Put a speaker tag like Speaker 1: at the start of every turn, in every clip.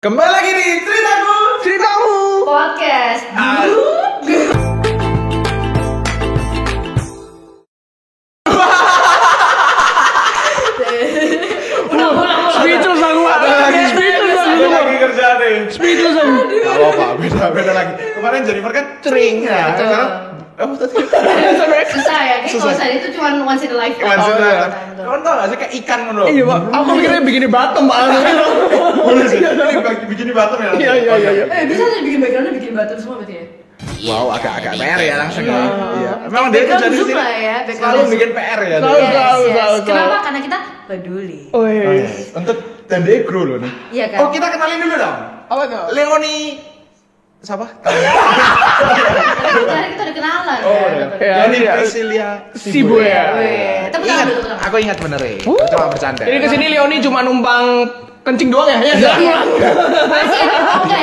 Speaker 1: Kembali lagi di ceritaku.
Speaker 2: ceritamu
Speaker 3: podcast ulang ulang ulang
Speaker 2: speechless aku
Speaker 1: Ada lagi.
Speaker 2: speechless aku
Speaker 1: Beda lagi kerja deh.
Speaker 2: speechless aku
Speaker 1: Gak apa-apa, beda beda lagi. Kemarin Jennifer kan cering ya.
Speaker 2: Iya.
Speaker 3: Betul.
Speaker 1: Sekarang apa tadi?
Speaker 3: susah ya kayak
Speaker 1: Susah.
Speaker 3: kalau saya itu cuma once in a life
Speaker 1: Cuman
Speaker 3: Oh,
Speaker 1: sih,
Speaker 3: iya,
Speaker 1: nah.
Speaker 3: betul.
Speaker 1: Kamu tau gak sih kayak ikan ngono.
Speaker 2: iya pak aku mikirnya begini bottom pak
Speaker 1: Boleh iya sih. Ini bagi- bikin di bottom ya. langsung.
Speaker 2: Iya, iya, iya, iya.
Speaker 3: eh bisa tuh bikin backgroundnya bikin batu semua berarti ya
Speaker 1: Wow, agak-agak PR ya langsung ya. Iya. Memang dia
Speaker 3: Background
Speaker 1: kerja di
Speaker 3: zoom
Speaker 1: sini.
Speaker 3: lah ya, background
Speaker 1: Selalu
Speaker 3: zoom.
Speaker 1: bikin PR ya. dia.
Speaker 2: Selalu,
Speaker 3: Yes,
Speaker 2: tahu,
Speaker 3: yes.
Speaker 2: tahu,
Speaker 3: kenapa
Speaker 2: tahu.
Speaker 3: karena kita peduli
Speaker 2: oh iya
Speaker 1: Oke. Untuk dan dia grow loh nih.
Speaker 3: iya kan
Speaker 1: Oh kita kenalin dulu dong.
Speaker 2: apa tuh
Speaker 1: Leoni siapa?
Speaker 3: karena kita udah kenalan
Speaker 1: Oh,
Speaker 3: kan?
Speaker 1: iya.
Speaker 2: Iya,
Speaker 1: Leoni
Speaker 2: iya.
Speaker 1: Priscilia
Speaker 2: Sibuya.
Speaker 3: Weh, tepuk tangan
Speaker 1: Ingat,
Speaker 3: dulu, tepuk tangan.
Speaker 1: aku ingat bener ya. Cuma bercanda.
Speaker 2: Iya. Jadi Uh. kesini Leoni cuma numpang kencing doang ya? Ya, enggak.
Speaker 3: Iya. Masih ada enggak?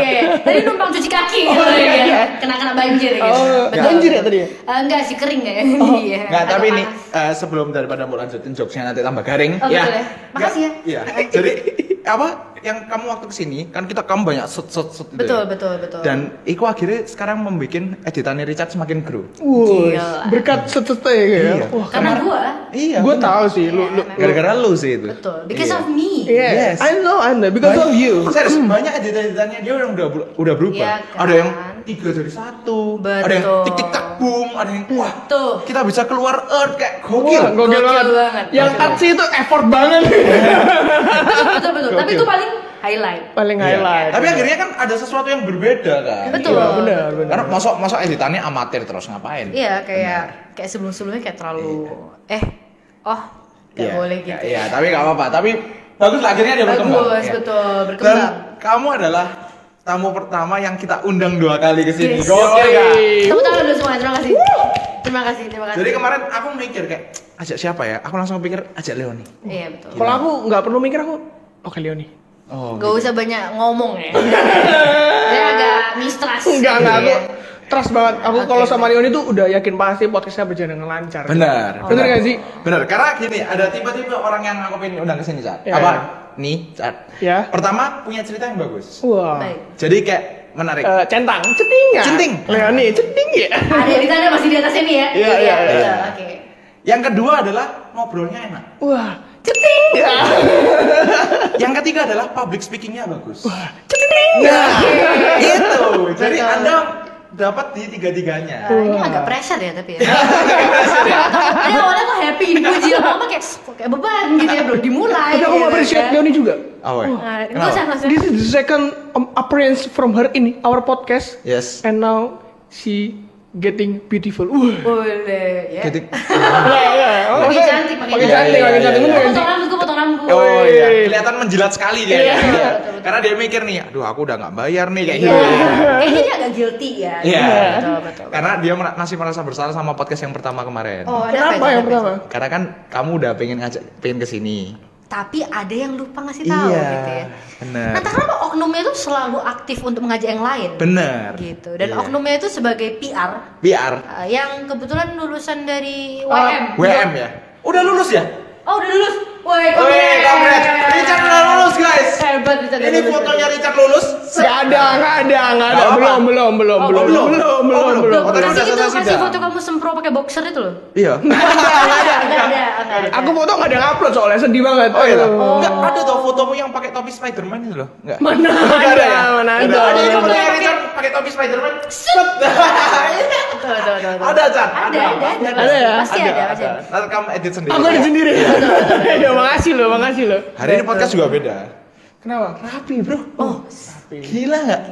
Speaker 3: Iya. Tadi numpang cuci kaki gitu
Speaker 2: Oh, iya, iya.
Speaker 3: ya. Kena-kena banjir gitu.
Speaker 2: Oh,
Speaker 3: Betul.
Speaker 2: banjir ya tadi ya?
Speaker 3: Eh, enggak sih kering ya. Iya.
Speaker 1: Nggak,
Speaker 3: agak
Speaker 1: tapi ini
Speaker 3: panas.
Speaker 1: eh, sebelum daripada mau lanjutin jokesnya nanti tambah garing
Speaker 3: Oh, betul ya. Makasih
Speaker 1: Nggak, Iya. Jadi apa yang kamu waktu kesini kan kita kamu banyak set set set gitu ya.
Speaker 3: Betul, betul, betul.
Speaker 1: Dan iku akhirnya sekarang membuat editannya Richard semakin grow.
Speaker 2: Wuh,
Speaker 3: Gila.
Speaker 2: berkat setete ya kayak.
Speaker 1: Iya.
Speaker 2: Wah,
Speaker 3: karena gua
Speaker 1: Iya.
Speaker 2: gue
Speaker 1: bener.
Speaker 2: tahu sih lu lu.
Speaker 3: Iya,
Speaker 1: Gara-gara lu sih itu.
Speaker 3: betul. Because of me.
Speaker 1: Yes.
Speaker 2: Yes, I know, I know, because
Speaker 1: Banyak-
Speaker 2: of you.
Speaker 1: Serius, banyak editan-editannya dia yang udah udah berubah.
Speaker 3: Iya kan?
Speaker 1: Ada yang tiga jadi satu, ada yang
Speaker 3: Betul.
Speaker 1: tik tik tak boom, ada yang wah
Speaker 3: Tuh.
Speaker 1: kita bisa keluar earth kayak
Speaker 2: Wah,
Speaker 1: gokil.
Speaker 3: Gokil
Speaker 2: gokil banget.
Speaker 3: banget.
Speaker 2: Yang
Speaker 3: Gokil.
Speaker 2: aksi itu effort banget.
Speaker 3: Betul, betul, betul. Tapi itu paling highlight.
Speaker 2: Paling
Speaker 1: Iya.
Speaker 2: highlight.
Speaker 1: Tapi akhirnya kan ada sesuatu yang berbeda kan.
Speaker 3: Betul.
Speaker 2: Iya, benar,
Speaker 3: betul.
Speaker 2: benar.
Speaker 1: Karena masuk masuk editannya amatir terus ngapain?
Speaker 3: Iya, kayak kayak sebelum-sebelumnya kayak terlalu eh oh
Speaker 1: Iya.
Speaker 3: nggak boleh gitu.
Speaker 1: Iya, tapi nggak apa-apa. Tapi bagus lah akhirnya dia berkembang.
Speaker 3: Bagus,
Speaker 1: ya.
Speaker 3: betul,
Speaker 1: Dan
Speaker 3: berkembang.
Speaker 1: kamu adalah tamu pertama yang kita undang dua kali ke sini.
Speaker 3: Yes.
Speaker 1: Gokil nggak?
Speaker 3: Tepuk tangan dulu semua, terima kasih. Terima kasih, terima kasih.
Speaker 1: Jadi kemarin aku mikir kayak ajak siapa ya? Aku langsung pikir ajak Leoni.
Speaker 3: Iya, betul.
Speaker 2: Kalau aku nggak perlu mikir aku, oke Leoni.
Speaker 1: Oh.
Speaker 3: Gak usah banyak ngomong ya. Dia agak mistrust.
Speaker 2: Enggak, enggak, aku
Speaker 3: Iya.
Speaker 2: trust banget. Aku
Speaker 3: Oke.
Speaker 2: kalau sama Leoni tuh udah yakin pasti podcastnya berjalan dengan lancar.
Speaker 1: Benar.
Speaker 2: Benar nggak sih?
Speaker 1: Benar. Karena gini, ada tiba-tiba orang yang aku pengen undang ke sini, Cat.
Speaker 2: Iya.
Speaker 1: Apa? Nih, Cat.
Speaker 2: Ya.
Speaker 1: Pertama punya cerita yang bagus.
Speaker 2: Wah.
Speaker 3: Baik.
Speaker 1: Jadi kayak menarik.
Speaker 2: Eh, centang, ceting nggak?
Speaker 1: Ceting.
Speaker 2: Leoni, ceting ya.
Speaker 3: Ada di sana masih di atas ini ya.
Speaker 2: Iya, iya,
Speaker 3: betul,
Speaker 1: iya.
Speaker 3: Oke.
Speaker 1: Yang kedua adalah ngobrolnya enak.
Speaker 2: Wah, ceting ya? nggak?
Speaker 1: Yang ketiga adalah public speakingnya bagus.
Speaker 2: Ceting ya? nggak?
Speaker 1: Nah, itu. Jadi
Speaker 3: Betul.
Speaker 1: Anda dapat di tiga-tiganya.
Speaker 3: Nah, ini
Speaker 2: Wah.
Speaker 3: agak pressure ya tapi ya.
Speaker 1: ya.
Speaker 3: Tadi awalnya kok happy dipuji lama-lama kayak kok kayak beban gitu ya belum dimulai.
Speaker 2: Tapi aku
Speaker 3: gitu
Speaker 2: appreciate
Speaker 3: kan.
Speaker 2: Leoni juga.
Speaker 1: Oh,
Speaker 3: Nah, Nggak usah, nggak usah.
Speaker 2: This is the second um, appearance from her in our podcast,
Speaker 1: Yes.
Speaker 2: and now she getting beautiful. Wah.
Speaker 3: Boleh. Ya.
Speaker 1: Jadi-
Speaker 2: Iya, iya.
Speaker 3: Makin
Speaker 2: Oh, maksudnya-
Speaker 3: cantik, makin
Speaker 1: cantik.
Speaker 2: makin cantik, makin
Speaker 1: Iya,
Speaker 2: cantik.
Speaker 1: iya,
Speaker 2: Bener
Speaker 1: iya.
Speaker 2: nggak
Speaker 3: Potong
Speaker 2: sih?
Speaker 3: rambut gue, potong rambut.
Speaker 1: Oh
Speaker 2: Woi.
Speaker 1: iya, kelihatan menjilat sekali dia.
Speaker 2: Iya.
Speaker 1: ya.
Speaker 3: Betul, betul, betul.
Speaker 1: Karena dia mikir nih, aduh aku udah nggak bayar nih kayak
Speaker 3: Iya.
Speaker 1: gitu.
Speaker 3: Kayaknya dia agak guilty ya.
Speaker 1: Iya.
Speaker 3: Betul, betul.
Speaker 1: Karena dia mer- masih merasa bersalah sama podcast yang pertama kemarin.
Speaker 3: Oh, ada apa
Speaker 2: Kenapa
Speaker 3: itu,
Speaker 2: yang
Speaker 3: ada apa itu?
Speaker 2: pertama?
Speaker 1: Karena kan kamu udah pengen ngajak pengen kesini.
Speaker 3: tapi ada yang lupa ngasih tahu
Speaker 1: Iya,
Speaker 3: gitu ya.
Speaker 1: benar.
Speaker 3: Nah, kenapa oknumnya itu selalu aktif untuk mengajak yang lain?
Speaker 1: Bener.
Speaker 3: Gitu. Dan
Speaker 1: Iya.
Speaker 3: oknumnya itu sebagai PR
Speaker 1: PR,
Speaker 3: uh, yang kebetulan lulusan dari
Speaker 2: Oh,
Speaker 3: WM.
Speaker 1: WM
Speaker 3: Iya.
Speaker 1: ya. Udah lulus ya?
Speaker 3: Oh, udah lulus. Woi,
Speaker 1: Wih, kongres. Richard udah lulus guys.
Speaker 3: Hebat Richard. udah
Speaker 1: Ini
Speaker 3: lulus.
Speaker 1: fotonya Richard lulus.
Speaker 2: Gak ada, gak ada, gak ada.
Speaker 1: Gak apa-apa.
Speaker 2: Belum, belum, belum,
Speaker 3: Oh,
Speaker 2: belum,
Speaker 1: belum.
Speaker 2: belum,
Speaker 1: Oh,
Speaker 2: belum,
Speaker 1: belum.
Speaker 2: belum.
Speaker 3: Loh,
Speaker 1: Fotonya
Speaker 3: kasih
Speaker 1: udah
Speaker 3: itu
Speaker 1: selesai
Speaker 3: kasih
Speaker 1: sudah.
Speaker 3: foto kamu sempro pakai boxer itu loh. Iya.
Speaker 1: Iya.
Speaker 3: Ada, ada, ada.
Speaker 2: Aku foto gak ada yang upload soalnya sedih banget.
Speaker 1: Oh iya.
Speaker 2: Aduh.
Speaker 1: Enggak ada tau fotomu yang pakai topi Spiderman itu loh. Enggak.
Speaker 2: Mana
Speaker 1: Nggak ya?
Speaker 2: ada, mana
Speaker 1: Nggak
Speaker 2: ada.
Speaker 1: Ada itu
Speaker 3: Nggak
Speaker 1: fotonya
Speaker 3: ada.
Speaker 1: Richard pakai topi Spiderman.
Speaker 3: Tuh, tuh, tuh, tuh.
Speaker 1: Ada, Chan.
Speaker 3: Ada, ada, ada.
Speaker 2: Ada ya?
Speaker 3: Pasti ada, pasti ada.
Speaker 1: Nanti kamu edit sendiri.
Speaker 2: Aku di sendiri.
Speaker 1: Iya,
Speaker 2: Ya makasih loh, makasih loh.
Speaker 1: Hari ini podcast juga beda.
Speaker 2: Kenapa? Rapi bro.
Speaker 3: Oh,
Speaker 1: Gila nggak?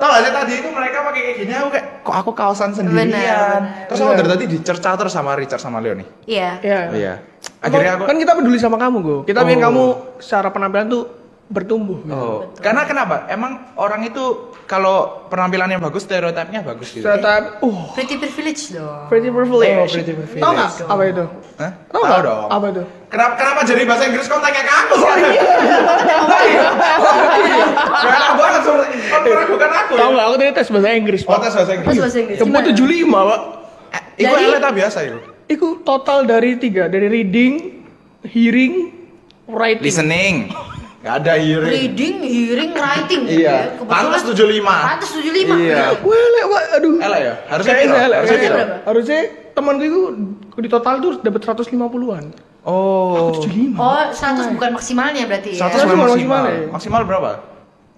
Speaker 1: Tau gak sih tadi itu mereka pakai kayak gini aku kayak kok aku kaosan sendirian.
Speaker 3: Benar,
Speaker 1: Terus aku
Speaker 2: Benar.
Speaker 1: dari tadi dicerca terus sama Richard sama Leoni.
Speaker 3: iya.
Speaker 2: Iya.
Speaker 1: Iya. Akhirnya aku
Speaker 2: kan kita peduli sama kamu Go. Kita pengen
Speaker 1: Oh.
Speaker 2: kamu secara penampilan tuh bertumbuh.
Speaker 1: Oh, karena kenapa? Emang orang itu kalau penampilannya bagus, stereotipnya bagus gitu.
Speaker 2: Ternyata, uh,
Speaker 3: Pretty privilege dong.
Speaker 2: pretty privilege.
Speaker 1: Oh, pretty privilege.
Speaker 2: Tau nggak apa itu?
Speaker 1: Hah?
Speaker 2: Tau
Speaker 1: Tahu
Speaker 2: nggak?
Speaker 1: dong.
Speaker 2: Oh, Apa itu?
Speaker 1: Kenapa kenapa jadi bahasa Inggris kau tanya ke aku? Oh, iya. Oh, Enak banget sebenarnya. Kau meragukan aku. ya?
Speaker 2: Tau nggak? Aku tadi tes bahasa Inggris.
Speaker 1: Oh,
Speaker 2: Pak.
Speaker 1: tes bahasa
Speaker 3: Pas
Speaker 1: Inggris.
Speaker 3: bahasa Inggris.
Speaker 2: Tembus
Speaker 3: gimana?
Speaker 2: 75 pak.
Speaker 1: Eh, Iku
Speaker 3: Dari-
Speaker 1: eleta biasa itu.
Speaker 2: Iku total dari tiga dari reading, hearing, writing.
Speaker 1: Listening. Gak ada hearing.
Speaker 3: Reading, hearing, writing gitu
Speaker 1: Iya.
Speaker 3: ya. Kebetulan-
Speaker 1: Pantas 75.
Speaker 3: Pantas 75.
Speaker 1: Iya.
Speaker 2: Wah, elek, wah, aduh.
Speaker 1: Elek ya? Harusnya
Speaker 2: Kayaknya
Speaker 1: viral,
Speaker 2: elek,
Speaker 1: harusnya
Speaker 2: kayaknya.
Speaker 3: viral.
Speaker 2: Harusnya teman gue itu di total tuh dapat 150-an.
Speaker 1: Oh.
Speaker 2: 75.
Speaker 3: Oh, 100 bukan maksimalnya berarti ya.
Speaker 1: 100
Speaker 2: Maksimal,
Speaker 1: maksimal.
Speaker 2: maksimal
Speaker 1: Maksimal,
Speaker 2: ya.
Speaker 1: maksimal berapa?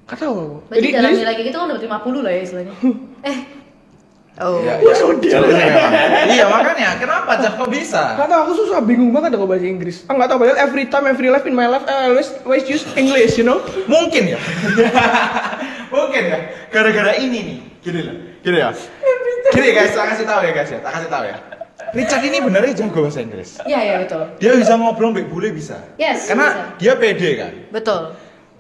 Speaker 2: Gak tahu aku.
Speaker 3: Berarti dalam nilai kayak gitu kan dapat 50 lah ya istilahnya. eh. Oh.
Speaker 1: Iya,
Speaker 2: Wah, zodiak.
Speaker 1: Zodiak emang. Iya, makanya kenapa Jack kok bisa?
Speaker 2: Gak tau, aku susah bingung banget aku bahasa Inggris. Ah, gak tau, padahal every time, every life in my life, I always, always use English, you know?
Speaker 1: Mungkin ya. Mungkin ya. Gara-gara ini nih. Gini lah. Gini ya. Gini guys, tak kasih tahu ya guys ya. Tak kasih tahu ya. Richard ini benernya jago bahasa Inggris.
Speaker 3: Iya, iya betul.
Speaker 1: Dia bisa ngobrol mbak bule bisa.
Speaker 3: Yes,
Speaker 1: Karena dia pede kan.
Speaker 3: Betul.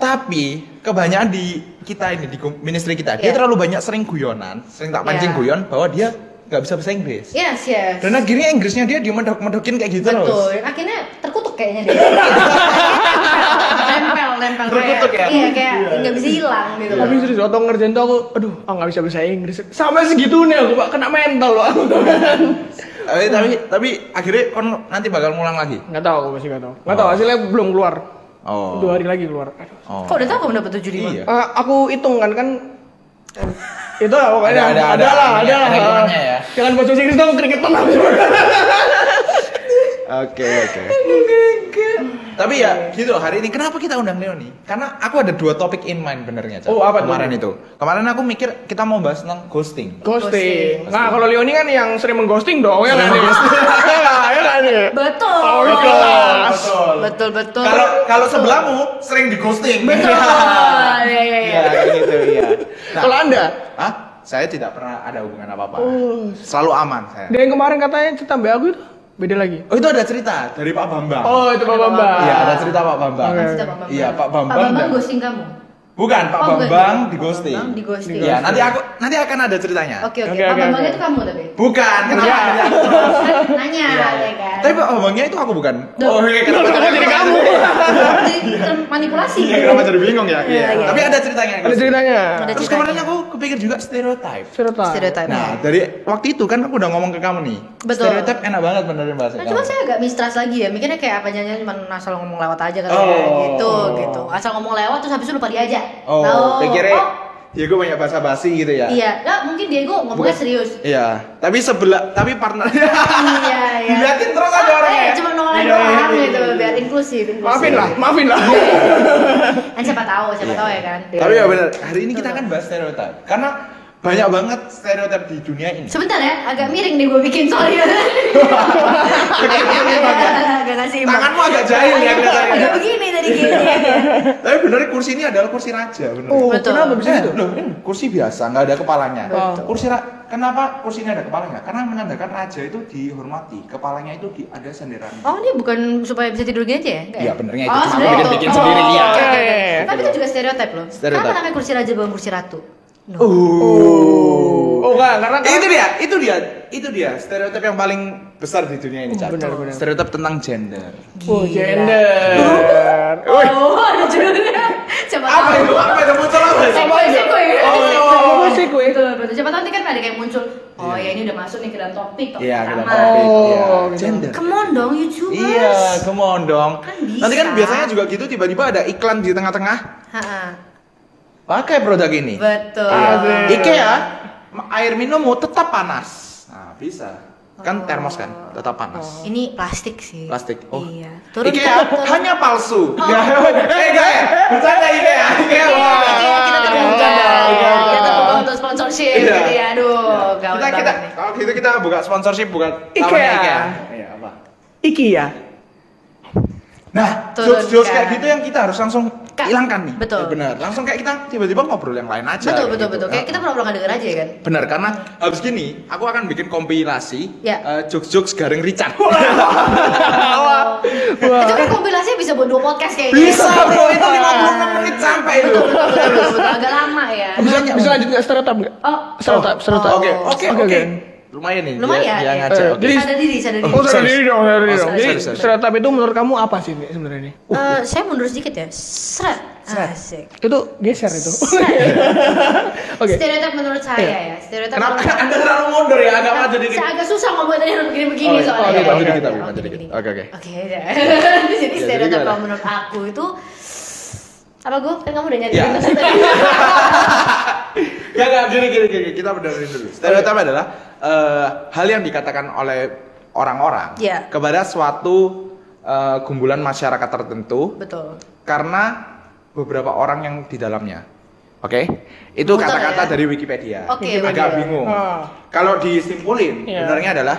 Speaker 1: Tapi kebanyakan di kita ini di kum- ministry kita, dia
Speaker 3: Iya.
Speaker 1: terlalu banyak sering guyonan, sering tak pancing
Speaker 3: Iya.
Speaker 1: guyon bahwa dia nggak bisa bahasa Inggris.
Speaker 3: Yes, yes.
Speaker 1: Dan akhirnya Inggrisnya dia dimedok-medokin kayak gitu
Speaker 3: Betul.
Speaker 1: terus.
Speaker 3: Akhirnya terkutuk kayaknya dia. nempel, nempel
Speaker 1: Terkutuk
Speaker 3: kayak,
Speaker 1: ya?
Speaker 3: Iya, kayak nggak bisa hilang gitu.
Speaker 1: Iya.
Speaker 2: Tapi serius, waktu ngerjain tuh aku, aduh, ah gak bisa bahasa Inggris. Sampai segitunya aku, Pak, kena mental loh aku.
Speaker 1: Tapi, Eh, tapi tapi akhirnya kon nanti bakal ngulang lagi.
Speaker 2: Gak tau, aku masih gak tau. Gak tau, hasilnya belum keluar.
Speaker 1: Oh.
Speaker 2: Dua hari lagi keluar. Aduh.
Speaker 1: Oh.
Speaker 3: Kok udah tahu kamu dapat 75?
Speaker 1: Iya.
Speaker 2: Eh, aku hitung kan kan itu lah pokoknya
Speaker 1: Ada- ada- ada- ada-
Speaker 2: lah ada,
Speaker 1: ada
Speaker 2: lah
Speaker 1: hitungannya ya.
Speaker 2: jangan bahasa Inggris dong keringetan aku.
Speaker 1: Oke oke. Tapi ya gitu hari ini kenapa kita undang Leoni? Karena aku ada dua topik in mind benernya. Cak.
Speaker 2: Oh, apa tuh?
Speaker 1: Kemarin itu. Kemarin aku mikir kita mau bahas tentang ghosting.
Speaker 2: Ghosting. Nah, kalau Leoni kan yang sering mengghosting dong, ya kan? nih? Ya kan, ya kan? nih?
Speaker 3: Betul.
Speaker 2: Oh, kelas.
Speaker 3: Betul, betul.
Speaker 1: Kalau kalau sebelahmu sering di ghosting.
Speaker 3: Betul. Iya, iya, iya.
Speaker 1: Iya gitu ya.
Speaker 2: Kalau Anda,
Speaker 1: Hah? Saya tidak pernah ada hubungan apa-apa.
Speaker 2: Oh.
Speaker 1: Selalu aman saya.
Speaker 2: dia yang kemarin katanya cerita mbak aku itu beda lagi.
Speaker 1: Oh itu ada cerita dari Pak Bambang.
Speaker 2: Oh, itu Pak Bambang.
Speaker 1: Iya, ada cerita Pak Bambang.
Speaker 2: Oke.
Speaker 3: Cerita Pak Bambang.
Speaker 1: Iya, Pak Bambang
Speaker 3: Pak Bambang
Speaker 1: dan-
Speaker 3: ghosting kamu.
Speaker 1: Bukan Pak
Speaker 3: Oh, bukan.
Speaker 1: Bambang di
Speaker 3: Pak
Speaker 1: ghosting.
Speaker 3: Bambang di ghosting.
Speaker 1: Iya, nanti aku nanti akan ada ceritanya.
Speaker 3: Oke, oke.
Speaker 2: Oke,
Speaker 3: Pak
Speaker 2: oke,
Speaker 3: Bambangnya
Speaker 2: oke.
Speaker 3: itu kamu tapi.
Speaker 1: Bukan, kenapa?
Speaker 2: Iya.
Speaker 1: ada-
Speaker 3: Kan Nanya,
Speaker 1: Iya,
Speaker 3: ya
Speaker 1: iya.
Speaker 3: kan.
Speaker 1: Tapi Pak Bambangnya itu aku bukan.
Speaker 3: Duh.
Speaker 1: Oh, iya, kenapa
Speaker 2: Kenapa jadi kamu?
Speaker 3: Jadi termanipulasi.
Speaker 1: Iya, kenapa jadi bingung ya?
Speaker 3: Iya, iya.
Speaker 1: Tapi ada ceritanya.
Speaker 2: Ada ceritanya.
Speaker 3: Ada
Speaker 1: Terus
Speaker 3: ceritanya.
Speaker 1: kemarin aku kepikir juga stereotype.
Speaker 2: Cerita.
Speaker 3: Stereotype.
Speaker 1: Nah, dari waktu itu kan aku udah ngomong ke kamu nih.
Speaker 3: Betul.
Speaker 1: Stereotype enak banget benerin bahasa.
Speaker 3: Nah,
Speaker 1: kamu.
Speaker 3: cuma saya agak mistrust lagi ya, mikirnya kayak apa jangan cuma asal ngomong lewat aja kali ya,
Speaker 1: Oh.
Speaker 3: gitu gitu. Asal ngomong lewat terus habis itu lupa diajak.
Speaker 1: Oh, pikirnya
Speaker 3: oh,
Speaker 1: ya gue banyak bahasa basi gitu ya.
Speaker 3: iya. Lah, mungkin Diego ngomongnya
Speaker 1: Bukan.
Speaker 3: serius.
Speaker 1: Iya, tapi sebelah tapi partnernya
Speaker 3: iya, iya.
Speaker 1: Diliatin terus aja
Speaker 3: Ah,
Speaker 1: orangnya.
Speaker 3: eh, Cuma nolak
Speaker 1: Iya, iya,
Speaker 3: doang
Speaker 1: iya,
Speaker 3: gitu,
Speaker 1: iya.
Speaker 3: biar inklusif, inklusif.
Speaker 2: Maafin lah, maafin lah.
Speaker 3: Kan siapa tahu, siapa tahu ya kan.
Speaker 1: Iya. Tapi ya benar, hari ini kita akan bahas stereotip. Karena banyak banget stereotip di dunia ini.
Speaker 3: Sebentar ya, agak miring nih gue bikin sorry. Agak kasih
Speaker 1: Tanganmu agak jahil ya kelihatannya.
Speaker 3: Agak begini tadi gini.
Speaker 1: Tapi bener kursi ini adalah kursi raja, bener.
Speaker 2: Oh,
Speaker 3: Betul.
Speaker 2: kenapa bisa
Speaker 1: Eh,
Speaker 2: gitu?
Speaker 1: loh, ini kursi biasa, nggak ada kepalanya.
Speaker 3: Betul.
Speaker 1: Kursi ra- kenapa kursi ini ada kepalanya? Karena menandakan raja itu dihormati, kepalanya itu di- ada senderannya.
Speaker 3: Oh ini bukan supaya bisa tidur gini aja ya? Nggak
Speaker 1: Iya,
Speaker 3: ya?
Speaker 1: benernya itu.
Speaker 3: Oh,
Speaker 1: Cuma aku
Speaker 3: sebenarnya
Speaker 1: bikin-bikin
Speaker 3: itu.
Speaker 1: sendiri,
Speaker 3: Oh,
Speaker 1: iya.
Speaker 3: oke, oke.
Speaker 2: Iya, iya,
Speaker 3: Tapi itu juga stereotip loh.
Speaker 1: Stereotip.
Speaker 3: Kenapa namanya kursi raja bukan kursi ratu? No.
Speaker 1: Oh.
Speaker 2: Oh, enggak, karena
Speaker 1: Itu dia, itu dia, itu dia stereotip yang paling besar di dunia ini, Cat.
Speaker 2: Benar, benar.
Speaker 1: Stereotip tentang gender.
Speaker 2: Oh,
Speaker 3: Gila.
Speaker 2: gender. Woi,
Speaker 3: Oh, ada judulnya. Siapa tahu.
Speaker 1: Apa itu? Apa itu muncul apa?
Speaker 3: Eh,
Speaker 1: Apa
Speaker 3: gue
Speaker 1: itu?
Speaker 3: sih, gue.
Speaker 2: oh, oh, sih gue.
Speaker 3: iya. Betul, betul. Siapa tahu nanti kan ada kayak muncul. Oh ya ini udah masuk nih ke dalam topik. topik
Speaker 1: Iya, kita
Speaker 3: utama.
Speaker 1: topik. iya.
Speaker 2: Oh, gitu.
Speaker 1: Gender.
Speaker 3: Come on dong, youtubers.
Speaker 1: Iya, come on dong.
Speaker 3: Kan bisa.
Speaker 1: Nanti kan biasanya juga gitu tiba-tiba ada iklan di tengah-tengah.
Speaker 3: Ha-ha.
Speaker 1: Pakai produk ini.
Speaker 3: Betul.
Speaker 1: Iya.
Speaker 2: Asik.
Speaker 1: IKEA ma- air minummu tetap panas. Nah, bisa. Kan termos kan, tetap panas.
Speaker 3: Ini plastik sih.
Speaker 1: Plastik. Oh.
Speaker 3: Oh. Iya. Turun
Speaker 1: IKEA
Speaker 3: turun, turun.
Speaker 1: hanya palsu.
Speaker 3: Oh.
Speaker 1: Nggak, eh, guys, bercanda IKEA. IKEA.
Speaker 3: Iya,
Speaker 1: wah.
Speaker 3: iya, kita terbuka.
Speaker 1: Bercanda,
Speaker 3: Iya,
Speaker 1: IKEA.
Speaker 3: Kita terbuka untuk sponsorship
Speaker 1: Iya.
Speaker 3: gitu ya. Aduh,
Speaker 1: Kita
Speaker 3: gaul
Speaker 1: kita
Speaker 3: banget nih.
Speaker 1: kalau gitu kita buka sponsorship bukan
Speaker 2: IKEA.
Speaker 1: Iya, apa?
Speaker 2: IKEA.
Speaker 1: Nah,
Speaker 3: Turun
Speaker 1: jokes-jokes
Speaker 3: kan.
Speaker 1: kayak gitu yang kita harus langsung
Speaker 3: Ka-
Speaker 1: hilangkan nih. Ya,
Speaker 3: Betul.
Speaker 1: benar. Langsung kayak kita tiba-tiba ngobrol yang lain aja.
Speaker 3: Betul,
Speaker 1: kayak
Speaker 3: betul,
Speaker 1: gitu. Iya.
Speaker 3: betul.
Speaker 1: Ah.
Speaker 3: Kayak kita pernah nggak denger aja ya kan?
Speaker 1: Benar, karena habis gini aku akan bikin kompilasi
Speaker 3: Ya.
Speaker 1: eh, jokes-jokes gareng Richard.
Speaker 2: Wah.
Speaker 3: Itu kan kompilasinya bisa buat dua podcast kayaknya.
Speaker 1: Bisa bro, itu 56 menit sampai itu.
Speaker 3: iya. Betul, betul, betul, betul, betul. Agak lama ya.
Speaker 2: Bisa, bisa lanjut nggak stereotip nggak?
Speaker 3: Oh,
Speaker 2: Stereotip, stereotip.
Speaker 1: Oke, oke,
Speaker 2: Oke,
Speaker 1: oke.
Speaker 2: oke.
Speaker 1: Lumayan nih. dia-
Speaker 3: Lumayan,
Speaker 1: Dia
Speaker 3: ya.
Speaker 1: ngajak.
Speaker 2: Eh,
Speaker 1: Iya, oke.
Speaker 2: jadi-
Speaker 3: sadar diri, sadar diri.
Speaker 2: Oh, sadar
Speaker 1: Sorry,
Speaker 2: diri dong, sadar
Speaker 1: Oh,
Speaker 2: diri dong.
Speaker 1: sorry,
Speaker 2: Jadi
Speaker 1: sorry, sorry.
Speaker 2: stereotip itu menurut kamu apa sih Nek, sebenarnya ini?
Speaker 3: Eh, saya mundur sedikit ya. Seret. Asik.
Speaker 2: Itu geser itu. Oke.
Speaker 3: Stereotip menurut
Speaker 2: Iya.
Speaker 3: saya ya. Stereotip
Speaker 1: Kenapa
Speaker 3: menurut-
Speaker 1: Anda terlalu mundur ya? Agak maju dikit.
Speaker 3: Saya agak susah ngomong tadi harus begini-begini
Speaker 1: Oh, iya.
Speaker 3: soalnya.
Speaker 2: Oh, iya, maju
Speaker 3: Oke,
Speaker 1: dikit,
Speaker 3: oke,
Speaker 1: tapi
Speaker 3: oke,
Speaker 1: maju dikit.
Speaker 3: gini.
Speaker 1: Oke, oke.
Speaker 3: Oke, ya. Jadi
Speaker 1: jadi
Speaker 3: stereotip
Speaker 1: gimana?
Speaker 3: kalau menurut aku itu Apa gue? Kan kamu udah nyari
Speaker 1: Ya.
Speaker 3: orientasi tadi.
Speaker 1: Gak, gak, gini, gini, gini, kita benerin dulu Stereotip adalah eh, hal yang dikatakan oleh orang-orang
Speaker 3: Iya.
Speaker 1: kepada suatu eh, gumpulan masyarakat tertentu
Speaker 3: Betul.
Speaker 1: karena beberapa orang yang di dalamnya. Oke, itu
Speaker 3: Bentar
Speaker 1: kata-kata
Speaker 3: ya.
Speaker 1: dari Wikipedia.
Speaker 3: Oke,
Speaker 1: agak
Speaker 3: Wikipedia.
Speaker 1: bingung.
Speaker 2: Ah.
Speaker 1: Kalau disimpulin,
Speaker 2: Iya.
Speaker 1: sebenarnya adalah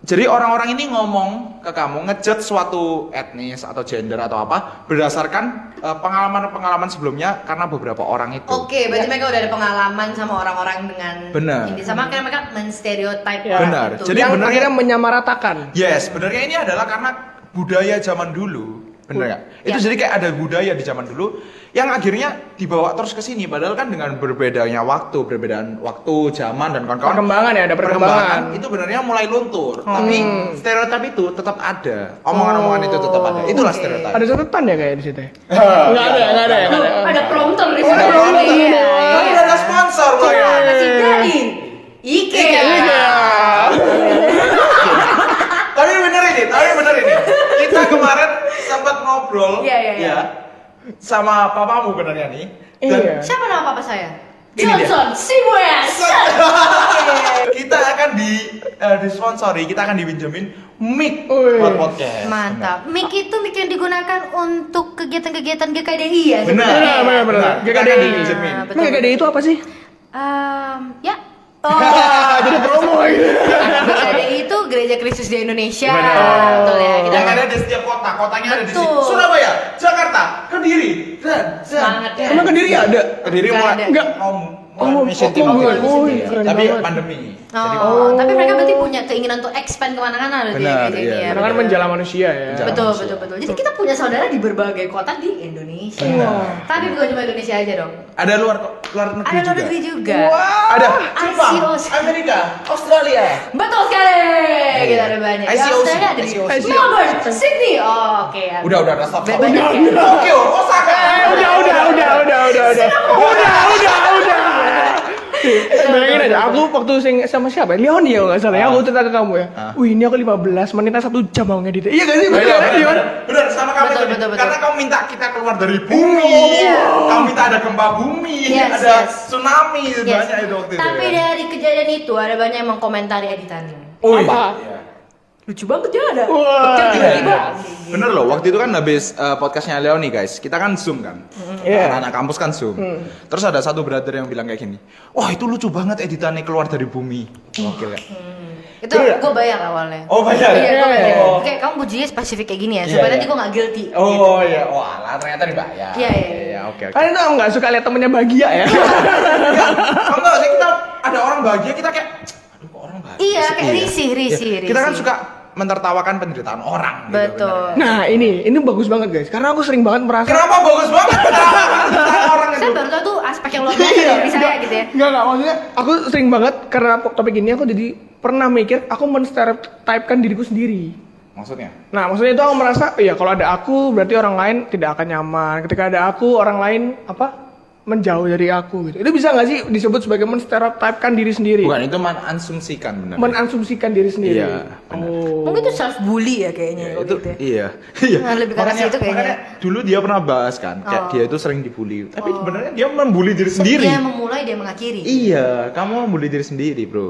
Speaker 1: jadi orang-orang ini ngomong ke kamu ngejudge suatu etnis atau gender atau apa berdasarkan eh, pengalaman-pengalaman sebelumnya karena beberapa orang itu.
Speaker 3: Oke, berarti mereka udah ada pengalaman sama orang-orang dengan
Speaker 1: Benar. Iya.
Speaker 3: ini sama karena mereka menstereotype
Speaker 2: Ya.
Speaker 3: orang
Speaker 1: Benar.
Speaker 3: itu.
Speaker 1: Jadi
Speaker 2: yang
Speaker 1: bener ya?
Speaker 2: akhirnya menyamaratakan.
Speaker 1: Yes, sebenarnya ini adalah karena budaya zaman dulu,
Speaker 2: Hmm.
Speaker 1: bener nggak? Itu
Speaker 3: Ya.
Speaker 1: jadi kayak ada budaya di zaman dulu yang akhirnya dibawa terus ke sini, padahal kan dengan berbedanya waktu, perbedaan waktu, zaman dan kawan-kawan.
Speaker 2: Perkembangan ya, ada perkembangan.
Speaker 1: itu sebenarnya mulai luntur, tapi
Speaker 2: Hmm.
Speaker 1: stereotip itu tetap ada, omongan-omongan itu tetap
Speaker 2: Oh,
Speaker 1: ada. Itulah
Speaker 3: Oke.
Speaker 1: stereotip.
Speaker 2: Ada catatan ya kayak di situ. ya?
Speaker 1: Ah,
Speaker 2: Nggak ada, nggak ada, nggak
Speaker 3: Loh,
Speaker 2: ada.
Speaker 3: ada prompter di
Speaker 1: Ada
Speaker 3: sana.
Speaker 1: prompter.
Speaker 3: Iya,
Speaker 1: Tapi
Speaker 3: iya.
Speaker 1: udah ada sponsor loh ya.
Speaker 3: Gimana sih, Dali?
Speaker 1: Iya.
Speaker 3: Ikea.
Speaker 2: Iya.
Speaker 1: tapi bener ini, tapi bener ini. Kita kemarin sempat ngobrol
Speaker 3: Iya, iya, iya.
Speaker 1: ya, sama papamu benarnya nih. Dan
Speaker 2: Iya.
Speaker 3: Siapa nama papa saya?
Speaker 1: Ini dia.
Speaker 3: Johnson Seabass.
Speaker 1: kita akan di eh, disponsori, kita akan dipinjemin mic
Speaker 2: Wih.
Speaker 1: buat podcast.
Speaker 3: Mantap. Mic itu mic yang digunakan untuk kegiatan-kegiatan GKDI ya.
Speaker 1: Benar.
Speaker 3: sebenarnya.
Speaker 2: Benar, benar, benar.
Speaker 1: Kita akan
Speaker 2: GKDI.
Speaker 1: dipinjemin.
Speaker 3: Nah,
Speaker 2: Emang GKD itu apa sih?
Speaker 3: Em, ya. Oh.
Speaker 2: Ah, jadi promo gitu.
Speaker 3: GKDI itu Gereja Kristus di Indonesia.
Speaker 1: Benar.
Speaker 3: Betul ya. Kita
Speaker 1: Yang ada di setiap kota, kotanya ada di sini.
Speaker 3: Betul.
Speaker 1: Surabaya, Jakarta, Kediri, dan
Speaker 3: Semangat ya.
Speaker 2: Emang Kediri ada?
Speaker 1: Kediri
Speaker 3: Nggak
Speaker 1: mulai
Speaker 3: ada.
Speaker 1: enggak
Speaker 2: Nggak.
Speaker 1: mau
Speaker 2: Oh, oh, bukan. Oh, iya, keren
Speaker 1: tapi
Speaker 2: banget.
Speaker 1: pandemi. Jadi
Speaker 3: Oh, tapi mereka berarti punya keinginan untuk expand kemana-mana berarti ya,
Speaker 1: Benar,
Speaker 3: GKDI
Speaker 1: iya,
Speaker 3: ya.
Speaker 2: Karena kan menjala manusia ya.
Speaker 1: Menjala.
Speaker 3: Betul,
Speaker 1: manusia.
Speaker 3: betul, betul. Jadi kita punya saudara di berbagai kota di Indonesia.
Speaker 1: Benar.
Speaker 3: Tapi bukan cuma Indonesia aja dong.
Speaker 1: ada luar luar negeri
Speaker 3: Ada luar
Speaker 1: juga.
Speaker 3: negeri juga.
Speaker 1: Ada Jepang,
Speaker 3: ICOs.
Speaker 1: Amerika, Australia.
Speaker 3: Betul sekali.
Speaker 1: Iya,
Speaker 3: Kita ada banyak. Di
Speaker 1: ICOC.
Speaker 3: Australia ada di
Speaker 1: ICOC.
Speaker 3: Melbourne, Sydney. Oh, oke. ada.
Speaker 1: Udah, udah, udah, stop, stop.
Speaker 3: Banyak ya.
Speaker 1: Tokyo, Osaka.
Speaker 2: Eh, udah, udah, udah, udah, udah, udah. Udah, udah, udah. Bayangin aja, aku waktu sing sama siapa? Leon ya nggak salah ya, aku cerita ke kamu ya.
Speaker 1: Ah.
Speaker 2: Wih ini aku 15 menitnya satu jam mau ngedit. Iya gak sih?
Speaker 1: Benar,
Speaker 2: Bener,
Speaker 1: benar,
Speaker 2: Leon?
Speaker 1: benar. Benar, sama kamu
Speaker 3: Betul,
Speaker 1: tadi.
Speaker 3: betul, betul.
Speaker 1: Karena kamu minta kita keluar dari bumi.
Speaker 3: Iya.
Speaker 1: Kamu minta ada gempa bumi,
Speaker 3: Yes,
Speaker 1: ada
Speaker 3: yes.
Speaker 1: tsunami
Speaker 3: Yes.
Speaker 1: banyak itu waktu itu.
Speaker 3: Tapi
Speaker 1: ya.
Speaker 3: dari kejadian itu ada banyak yang mengkomentari editannya.
Speaker 1: Ui.
Speaker 2: Apa?
Speaker 1: Iya.
Speaker 3: Lucu banget ya ada.
Speaker 2: Wah.
Speaker 3: Pecah tiba-tiba.
Speaker 1: Bener loh, waktu itu kan habis eh, podcastnya Leoni guys, kita kan zoom kan,
Speaker 2: Iya.
Speaker 1: anak-anak kampus kan zoom.
Speaker 3: Hmm.
Speaker 1: Terus ada satu brother yang bilang kayak gini, wah itu lucu banget editannya keluar dari bumi. Gokil ya.
Speaker 3: Itu
Speaker 1: Bener.
Speaker 3: gue bayar awalnya.
Speaker 1: Oh bayar
Speaker 3: Iya,
Speaker 1: ya?
Speaker 3: gue bayar.
Speaker 1: Oh.
Speaker 3: Oke, kamu pujinya spesifik kayak gini ya.
Speaker 1: Iya,
Speaker 3: Supaya
Speaker 1: iya.
Speaker 3: nanti gue gak guilty.
Speaker 1: Oh iya, oh alah ternyata dibayar.
Speaker 3: Iya, iya, iya.
Speaker 1: oke oke.
Speaker 2: Kalian tau nggak suka lihat temennya bahagia ya?
Speaker 1: Enggak, enggak sih kita ada orang bahagia kita kayak, aduh kok orang bahagia.
Speaker 3: Iya,
Speaker 1: sih?"
Speaker 3: kayak risih, risih,
Speaker 1: Iya. Kita kan
Speaker 3: risih.
Speaker 1: suka mentertawakan penderitaan orang. gitu,
Speaker 3: Betul.
Speaker 1: bener.
Speaker 2: Nah ini, ini bagus banget guys, karena aku sering banget merasa
Speaker 1: Kenapa bagus banget penderitaan orang itu?
Speaker 3: Saya baru tau tuh aspek yang luar biasa
Speaker 1: Iya,
Speaker 3: dari saya gitu ya.
Speaker 2: Enggak, enggak, maksudnya aku sering banget karena topik ini aku jadi pernah mikir aku menstereotipkan diriku sendiri.
Speaker 1: Maksudnya?
Speaker 2: Nah, maksudnya itu aku merasa, iya kalau ada aku berarti orang lain tidak akan nyaman. Ketika ada aku, orang lain apa menjauh dari aku gitu. Itu bisa nggak sih disebut sebagai menstereotipkan diri sendiri?
Speaker 1: Bukan itu ya. mensumsikan benar.
Speaker 2: Menasumsikan diri sendiri.
Speaker 1: Iya, benar.
Speaker 2: Oh.
Speaker 3: Mungkin itu self bully ya kayaknya.
Speaker 1: Ya,
Speaker 3: kalau
Speaker 1: itu
Speaker 3: gitu ya.
Speaker 1: iya iya
Speaker 3: Nah, lebih ke arah situ kayaknya.
Speaker 1: dulu dia pernah bahas kan kayak
Speaker 3: Oh. Iya,
Speaker 1: dia itu sering dibully tapi sebenarnya dia membuli diri sendiri
Speaker 3: Dia memulai, dia mengakhiri.
Speaker 1: iya kamu membuli diri sendiri bro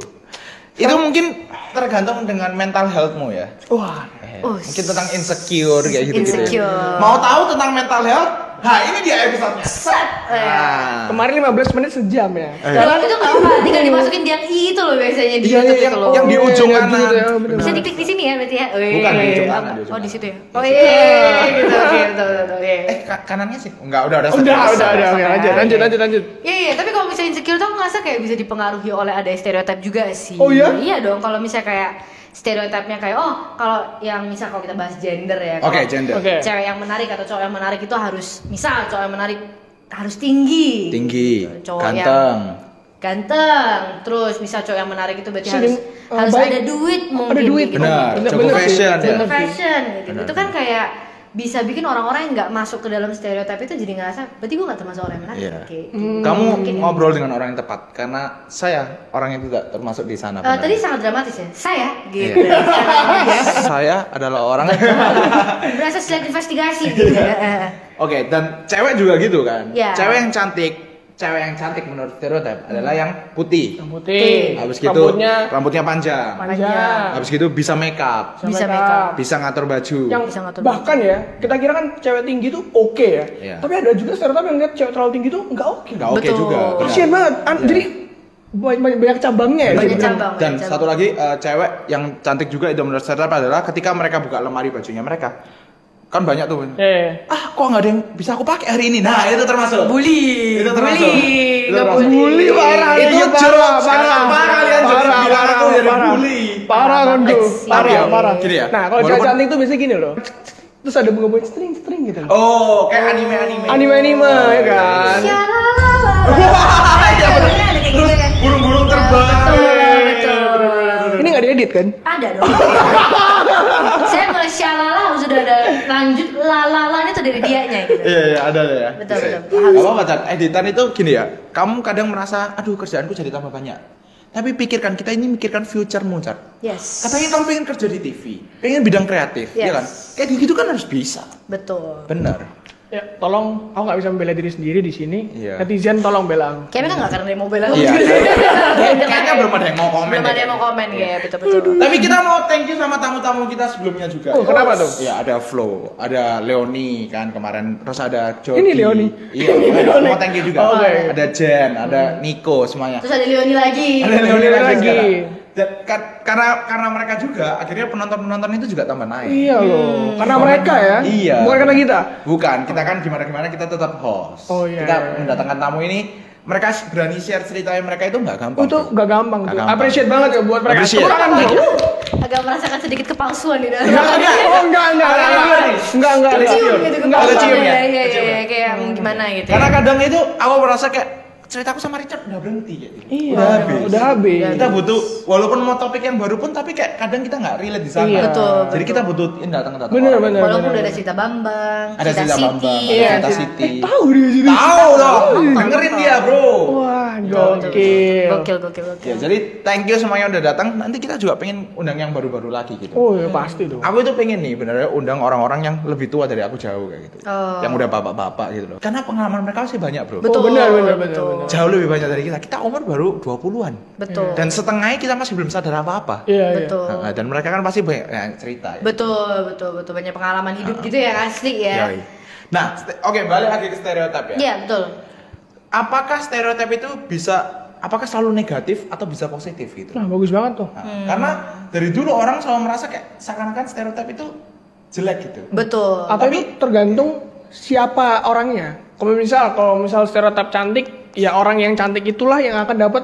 Speaker 1: itu mungkin tergantung dengan mental healthmu ya
Speaker 2: Wah.
Speaker 1: Eh,
Speaker 3: Oh,
Speaker 1: mungkin tentang insecure kayak gitu gitu
Speaker 3: Insecure.
Speaker 1: mau tahu tentang mental health nah ini dia episode-nya
Speaker 3: Set. Eh.
Speaker 1: Nah.
Speaker 2: Kemarin 15 menit sejam ya.
Speaker 3: Kalau itu nggak apa, tinggal dimasukin yang i itu loh biasanya
Speaker 1: Eh. Iya,
Speaker 3: di
Speaker 1: iya,
Speaker 3: YouTube itu
Speaker 1: yang,
Speaker 3: loh.
Speaker 1: yang di
Speaker 2: Oh,
Speaker 1: ujung
Speaker 2: iya,
Speaker 1: kanan.
Speaker 2: gitu ya, benar.
Speaker 3: Bisa diklik di sini ya berarti ya. Wih.
Speaker 1: Bukan, di ujung
Speaker 3: Apa?
Speaker 1: kanan, di ujung
Speaker 3: Oh di
Speaker 1: kanan.
Speaker 3: situ ya. Oh iya, gitu, gitu, gitu, iya.
Speaker 1: Eh, ka- kanannya sih? Enggak, udah, udah.
Speaker 2: Udah,
Speaker 1: set.
Speaker 2: udah, udah, oke, lanjut, lanjut, lanjut, lanjut.
Speaker 3: Iya, iya, tapi kalau misalnya insecure tuh aku ngerasa kayak bisa dipengaruhi oleh ada stereotip juga sih.
Speaker 2: Oh, iya?
Speaker 3: Iya dong, kalau misalnya kayak stereotipnya kayak oh kalau yang misal kalau kita bahas gender ya.
Speaker 1: Oke,
Speaker 3: kalau
Speaker 1: gender.
Speaker 2: Oke.
Speaker 3: Cewek yang menarik atau cowok yang menarik itu harus misal cowok yang menarik harus tinggi.
Speaker 1: Tinggi,
Speaker 3: Cowok yang-
Speaker 1: ganteng.
Speaker 3: Ganteng, terus misal cowok yang menarik itu berarti
Speaker 2: Sering,
Speaker 3: harus
Speaker 2: eh,
Speaker 3: harus
Speaker 2: baik.
Speaker 3: ada duit mungkin.
Speaker 2: Ada duit.
Speaker 3: gitu.
Speaker 1: Benar,
Speaker 2: Bener,
Speaker 1: cukup
Speaker 2: bener sih,
Speaker 1: fashion ya.
Speaker 2: bener.
Speaker 3: fashion gitu.
Speaker 1: Benar,
Speaker 3: itu kan kayak bisa bikin orang-orang yang nggak masuk ke dalam stereotip itu jadi ngerasa berarti gue nggak termasuk orang yang menarik.
Speaker 1: Iya.
Speaker 3: Kayak gitu.
Speaker 1: Kamu ngobrol dengan orang yang tepat karena saya orang yang tidak termasuk di sana.
Speaker 3: Eh,
Speaker 1: benar.
Speaker 3: tadi sangat dramatis ya. Saya gitu.
Speaker 1: Iya.
Speaker 3: Saya,
Speaker 1: saya adalah orang Iya.
Speaker 3: Berasa sedang investigasi gitu. ya. Eh, eh.
Speaker 1: Oke, dan cewek juga gitu kan.
Speaker 3: Iya.
Speaker 1: Cewek yang cantik, cewek yang cantik menurut stereotip
Speaker 3: Hmm.
Speaker 1: adalah yang putih.
Speaker 2: Yang putih.
Speaker 1: Habis gitu
Speaker 2: Rambutnya
Speaker 1: rambutnya panjang.
Speaker 2: panjang.
Speaker 1: Habis gitu bisa make up,
Speaker 3: Iya. Bisa
Speaker 2: Sama
Speaker 3: make up.
Speaker 1: bisa ngatur baju.
Speaker 2: yang
Speaker 3: Bisa ngatur
Speaker 2: bahkan ya kita kira kan cewek tinggi tuh oke ya
Speaker 1: Iya.
Speaker 2: tapi ada juga stereotip yang lihat cewek terlalu tinggi tuh nggak oke
Speaker 1: Nggak oke
Speaker 3: Betul. Oh,
Speaker 1: juga. benar.
Speaker 2: kasian banget An-
Speaker 1: Iya.
Speaker 2: jadi banyak, banyak, banyak cabangnya ya
Speaker 3: Banyak
Speaker 2: jadi.
Speaker 3: cabang.
Speaker 1: Dan
Speaker 3: cabang.
Speaker 1: satu lagi eh, cewek yang cantik juga itu menurut stereotip adalah ketika mereka buka lemari bajunya mereka. Kan banyak tuh.
Speaker 2: Eh,
Speaker 1: Ah, kok nggak ada yang bisa aku pakai hari ini? Nah, itu termasuk.
Speaker 3: Bully.
Speaker 1: Itu termasuk. Itu
Speaker 3: Bully. Nggak
Speaker 1: termasuk.
Speaker 2: bully parah
Speaker 1: Itu
Speaker 2: iya,
Speaker 1: jorok sekarang. Parah, kalian jangan
Speaker 2: parah
Speaker 1: bilang
Speaker 2: parah
Speaker 1: aku jadi
Speaker 2: parah
Speaker 1: bully.
Speaker 2: parah kan
Speaker 3: Eks,
Speaker 2: gue
Speaker 1: tapi
Speaker 2: parah
Speaker 1: ya,
Speaker 2: parah
Speaker 1: gini ya,
Speaker 2: nah kalau cewek
Speaker 1: walaupun-
Speaker 2: cantik tuh biasanya gini loh terus ada bunga bunga string string gitu loh
Speaker 1: Oh, Iya. kayak anime-anime.
Speaker 2: anime anime ya kan
Speaker 3: Syalalala.
Speaker 1: Wah, iya, bener.
Speaker 3: Ada kayak gitu kan.
Speaker 1: Burung-burung terbang.
Speaker 3: Betul, betul.
Speaker 2: ini nggak diedit kan
Speaker 3: Ada dong. Saya mulai syalala sudah ada lanjut lalalanya tuh dari dianya gitu.
Speaker 1: Iya, iya, ada ada ya.
Speaker 3: Betul,
Speaker 1: Bisa ya.
Speaker 3: betul. Harus.
Speaker 1: Gak apa-apa, Tan. editan itu gini ya. Kamu kadang merasa, aduh kerjaanku jadi tambah banyak. Tapi pikirkan, kita ini mikirkan future-mu, Cat.
Speaker 3: Yes.
Speaker 1: Katanya kamu pengen kerja di TV, pengen bidang kreatif, ya
Speaker 3: Yes.
Speaker 1: kan? Kayak gitu kan harus bisa.
Speaker 3: betul.
Speaker 1: Bener.
Speaker 2: ya tolong aku nggak bisa membela diri sendiri di sini
Speaker 1: Iya.
Speaker 2: netizen tolong bela aku
Speaker 3: Kayaknya kan nggak karena dia mau bela.
Speaker 1: Iya.
Speaker 3: Kayaknya
Speaker 1: Kayaknya belum ada yang mau komen.
Speaker 3: Belum
Speaker 1: deh. Iya.
Speaker 3: ada yang mau komen ya, betul-betul.
Speaker 1: Tapi kita mau thank you sama tamu-tamu kita sebelumnya juga.
Speaker 2: Oh, kenapa tuh?
Speaker 1: Ya ada Flo, ada Leoni kan kemarin, terus ada Jody.
Speaker 2: Ini Leoni?
Speaker 1: Iya,
Speaker 2: Ini Leoni.
Speaker 1: mau thank you juga.
Speaker 2: Oke. Iya.
Speaker 1: Ada Jen, ada Nico semuanya.
Speaker 3: Terus ada Leoni lagi.
Speaker 1: Ada Leoni
Speaker 2: Leoni
Speaker 1: lagi.
Speaker 2: lagi.
Speaker 1: sekarang. Dan ka- karena karena mereka juga akhirnya penonton-penonton itu juga tambah naik.
Speaker 2: Iya
Speaker 3: Hmm.
Speaker 2: loh, karena mereka ya.
Speaker 1: Iya.
Speaker 2: Bukan karena kita.
Speaker 1: Bukan, kita kan gimana-gimana kita tetap host.
Speaker 2: Oh, iya,
Speaker 1: Kita
Speaker 2: iya.
Speaker 1: mendatangkan tamu ini, mereka berani share ceritanya mereka itu nggak gampang.
Speaker 2: Itu
Speaker 1: tuh.
Speaker 2: gak gampang.
Speaker 1: Nggak
Speaker 2: tuh.
Speaker 1: gampang.
Speaker 2: Appreciate banget ya buat mereka.
Speaker 1: Appreciate. Iya.
Speaker 2: Tepuk tangan bro.
Speaker 3: Agak merasakan sedikit kepalsuan di dalam.
Speaker 2: Oh enggak enggak enggak enggak enggak enggak
Speaker 3: Kecium gitu
Speaker 2: enggak
Speaker 1: Agak
Speaker 3: kepalsuan
Speaker 1: cium ya?
Speaker 3: ya. Iya, iya,
Speaker 1: Kecium ya?
Speaker 3: iya, kayak yang gimana gitu. ya.
Speaker 1: Karena kan- kadang itu aku merasa kayak ceritaku sama Richard udah berhenti ya.
Speaker 2: Iya,
Speaker 1: Udah habis.
Speaker 2: udah habis.
Speaker 1: Kita butuh walaupun mau topik yang baru pun tapi kayak kadang kita nggak relate di sana.
Speaker 2: Iya.
Speaker 3: Betul,
Speaker 1: Jadi
Speaker 3: betul.
Speaker 1: kita butuh ini datang datang.
Speaker 2: Bener,
Speaker 1: orang.
Speaker 2: bener.
Speaker 3: Walaupun udah ada cerita Bambang,
Speaker 1: Ada cerita Bambang, ada
Speaker 3: Siti, ya
Speaker 1: cerita
Speaker 3: kan?
Speaker 1: Siti.
Speaker 2: Eh, tahu dia sini.
Speaker 1: Tahu dong. Dengerin dia, Bro.
Speaker 2: Wah,
Speaker 3: Betul, betul, betul.
Speaker 2: gokil.
Speaker 3: Gokil, gokil, gokil.
Speaker 1: Ya, jadi thank you semuanya udah datang. Nanti kita juga pengen undang yang baru-baru lagi gitu.
Speaker 2: Oh, ya pasti dong.
Speaker 1: Aku itu pengen nih benernya undang orang-orang yang lebih tua dari aku jauh kayak gitu.
Speaker 3: Oh.
Speaker 1: Yang udah bapak-bapak gitu loh. Karena pengalaman mereka masih banyak, Bro.
Speaker 3: Betul,
Speaker 2: Oh, benar, benar, benar,
Speaker 3: betul.
Speaker 2: benar.
Speaker 1: Jauh lebih banyak dari kita. Kita umur baru 20-an.
Speaker 3: Betul.
Speaker 1: Iya. Dan setengahnya kita masih belum sadar apa-apa.
Speaker 2: Iya, iya.
Speaker 3: Betul.
Speaker 1: Nah, dan mereka kan pasti banyak ya, cerita ya.
Speaker 3: Betul, betul, betul. Banyak pengalaman hidup
Speaker 1: Ah.
Speaker 3: gitu ya, asli ya.
Speaker 1: Yoi. Nah, ste- oke balik lagi ke stereotip ya.
Speaker 3: Iya, betul.
Speaker 1: Apakah stereotip itu bisa apakah selalu negatif atau bisa positif gitu?
Speaker 3: Hmm.
Speaker 2: Nah, bagus banget tuh.
Speaker 1: Nah, Karena dari dulu orang selalu merasa kayak seakan-akan stereotip itu jelek gitu.
Speaker 3: Betul.
Speaker 2: Apa itu tergantung siapa orangnya. Kalau misal kalau misal stereotip cantik, ya orang yang cantik itulah yang akan dapat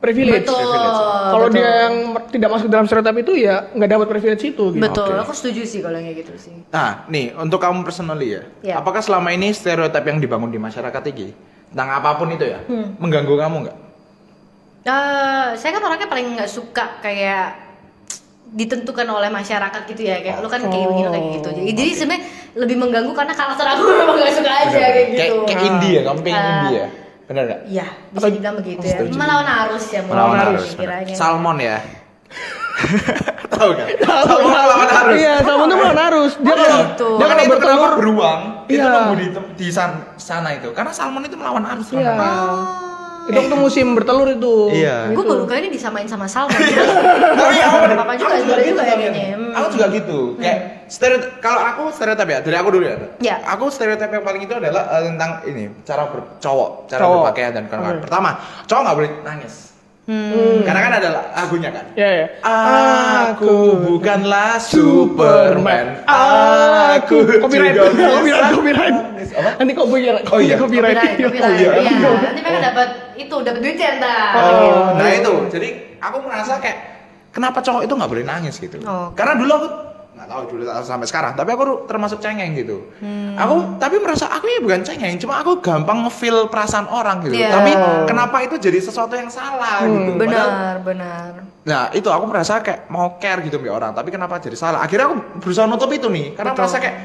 Speaker 2: privilege.
Speaker 3: Betul.
Speaker 2: Kalau
Speaker 3: betul.
Speaker 2: dia yang tidak masuk dalam stereotip itu ya nggak dapat privilege itu gitu.
Speaker 3: Betul,
Speaker 1: Oke.
Speaker 3: aku setuju sih kalau yang kayak gitu sih.
Speaker 1: Nah, nih untuk kamu personally ya.
Speaker 3: Iya.
Speaker 1: Apakah selama ini stereotip yang dibangun di masyarakat ini tentang apapun itu ya
Speaker 3: Hmm.
Speaker 1: mengganggu kamu nggak?
Speaker 3: Eh, saya kan orangnya paling nggak suka kayak ditentukan oleh masyarakat gitu ya kayak lu kan kayak
Speaker 1: Oh.
Speaker 3: begini lu kayak gitu jadi, jadi sebenarnya lebih mengganggu karena karakter aku memang nggak suka aja kayak
Speaker 1: Kayak,
Speaker 3: gitu
Speaker 1: kayak indie ya, kamu pengen
Speaker 3: Ah.
Speaker 1: indie ya? Bener nggak?
Speaker 3: Iya, bisa dibilang begitu ya. Melawan arus ya,
Speaker 1: Melawan arus. bener.
Speaker 3: kiranya.
Speaker 1: Salmon ya. Tahu kan?
Speaker 2: Salmon melawan harus. Iya, salmon tuh melawan harus. Dia
Speaker 3: Oh,
Speaker 2: kalau
Speaker 3: gitu.
Speaker 2: dia kalau
Speaker 1: kan itu
Speaker 2: bertelur
Speaker 1: kenapa beruang itu
Speaker 2: Iya.
Speaker 1: nunggu di, tem- di san- sana itu karena salmon itu melawan arus
Speaker 2: Iya.
Speaker 1: teman-teman.
Speaker 2: Itu waktu musim bertelur itu.
Speaker 1: Iya.
Speaker 3: Gue Oh. baru kali ini disamain sama salmon.
Speaker 1: Tapi ya,
Speaker 3: Iya,
Speaker 1: aku-
Speaker 3: apa-apa juga,
Speaker 1: aku
Speaker 3: sebenarnya juga
Speaker 1: Tamiya.
Speaker 3: kayaknya. Hmm.
Speaker 1: ya. Aku juga gitu. Kayak stereotip kalau aku stereotip ya, dari aku dulu ya.
Speaker 3: Iya.
Speaker 1: Aku stereotip yang paling itu adalah eh, tentang ini, cara bercowok, cara
Speaker 2: Cowok.
Speaker 1: berpakaian dan kawan
Speaker 2: Oke.
Speaker 1: Pertama, cowok nggak boleh nangis.
Speaker 2: Hmm.
Speaker 1: Karena kan ada lagunya kan.
Speaker 2: Iya, iya.
Speaker 1: Aku bukanlah Superman. Aku
Speaker 2: copyright,
Speaker 1: juga bisa
Speaker 2: copyright, copyright.
Speaker 1: nangis. Apa?
Speaker 2: Nanti kok copyright,
Speaker 1: Oh, iya.
Speaker 2: copyright.
Speaker 3: Copyright,
Speaker 2: Oh,
Speaker 3: copyright,
Speaker 1: ya.
Speaker 2: iya.
Speaker 3: iya. Nanti mereka dapat itu, dapat duit ya entar.
Speaker 2: Oh.
Speaker 1: Nah itu, jadi aku merasa kayak kenapa cowok itu nggak boleh nangis gitu.
Speaker 3: Oh.
Speaker 1: Karena dulu aku nggak tahu dulu atau sampai sekarang, tapi aku termasuk cengeng gitu. Aku tapi merasa aku ya bukan cengeng, cuma aku gampang ngefeel perasaan orang gitu.
Speaker 3: Iya. Hmm,
Speaker 1: Tapi kenapa itu jadi sesuatu yang salah gitu? Padahal-
Speaker 3: Benar, benar.
Speaker 1: Nah itu aku merasa kayak mau care gitu sama orang, tapi kenapa jadi salah? Akhirnya aku berusaha nutup itu nih, karena
Speaker 3: Betul.
Speaker 1: merasa kayak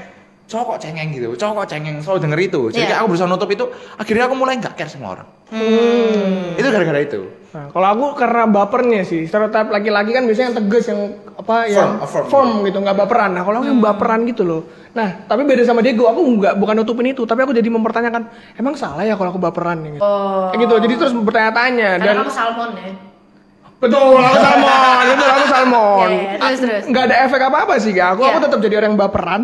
Speaker 1: cowok kok cengeng gitu cowok kok cengeng selalu denger itu jadi
Speaker 3: Iya.
Speaker 1: kayak aku berusaha nutup itu akhirnya aku mulai nggak care sama orang
Speaker 3: Hmm.
Speaker 1: itu gara-gara itu
Speaker 2: Nah, kalau aku karena bapernya sih, stereotip laki-laki kan biasanya yang tegas yang apa yang
Speaker 1: affirm.
Speaker 2: gitu, nggak baperan. Nah, kalau aku
Speaker 3: Hmm.
Speaker 2: yang baperan gitu loh. Nah, tapi beda sama Diego, aku nggak bukan nutupin itu, tapi aku jadi mempertanyakan, emang salah ya kalau aku baperan gitu. Kayak gitu. Jadi terus bertanya-tanya
Speaker 3: Oh. Karena
Speaker 2: dan
Speaker 3: kamu salmon ya.
Speaker 2: betul aku salmon, betul aku salmon.
Speaker 3: Iya, iya, terus,
Speaker 2: Ah,
Speaker 3: terus.
Speaker 2: Nggak ada efek apa-apa sih, Kak. Aku
Speaker 3: Iya.
Speaker 2: aku tetap jadi orang yang baperan.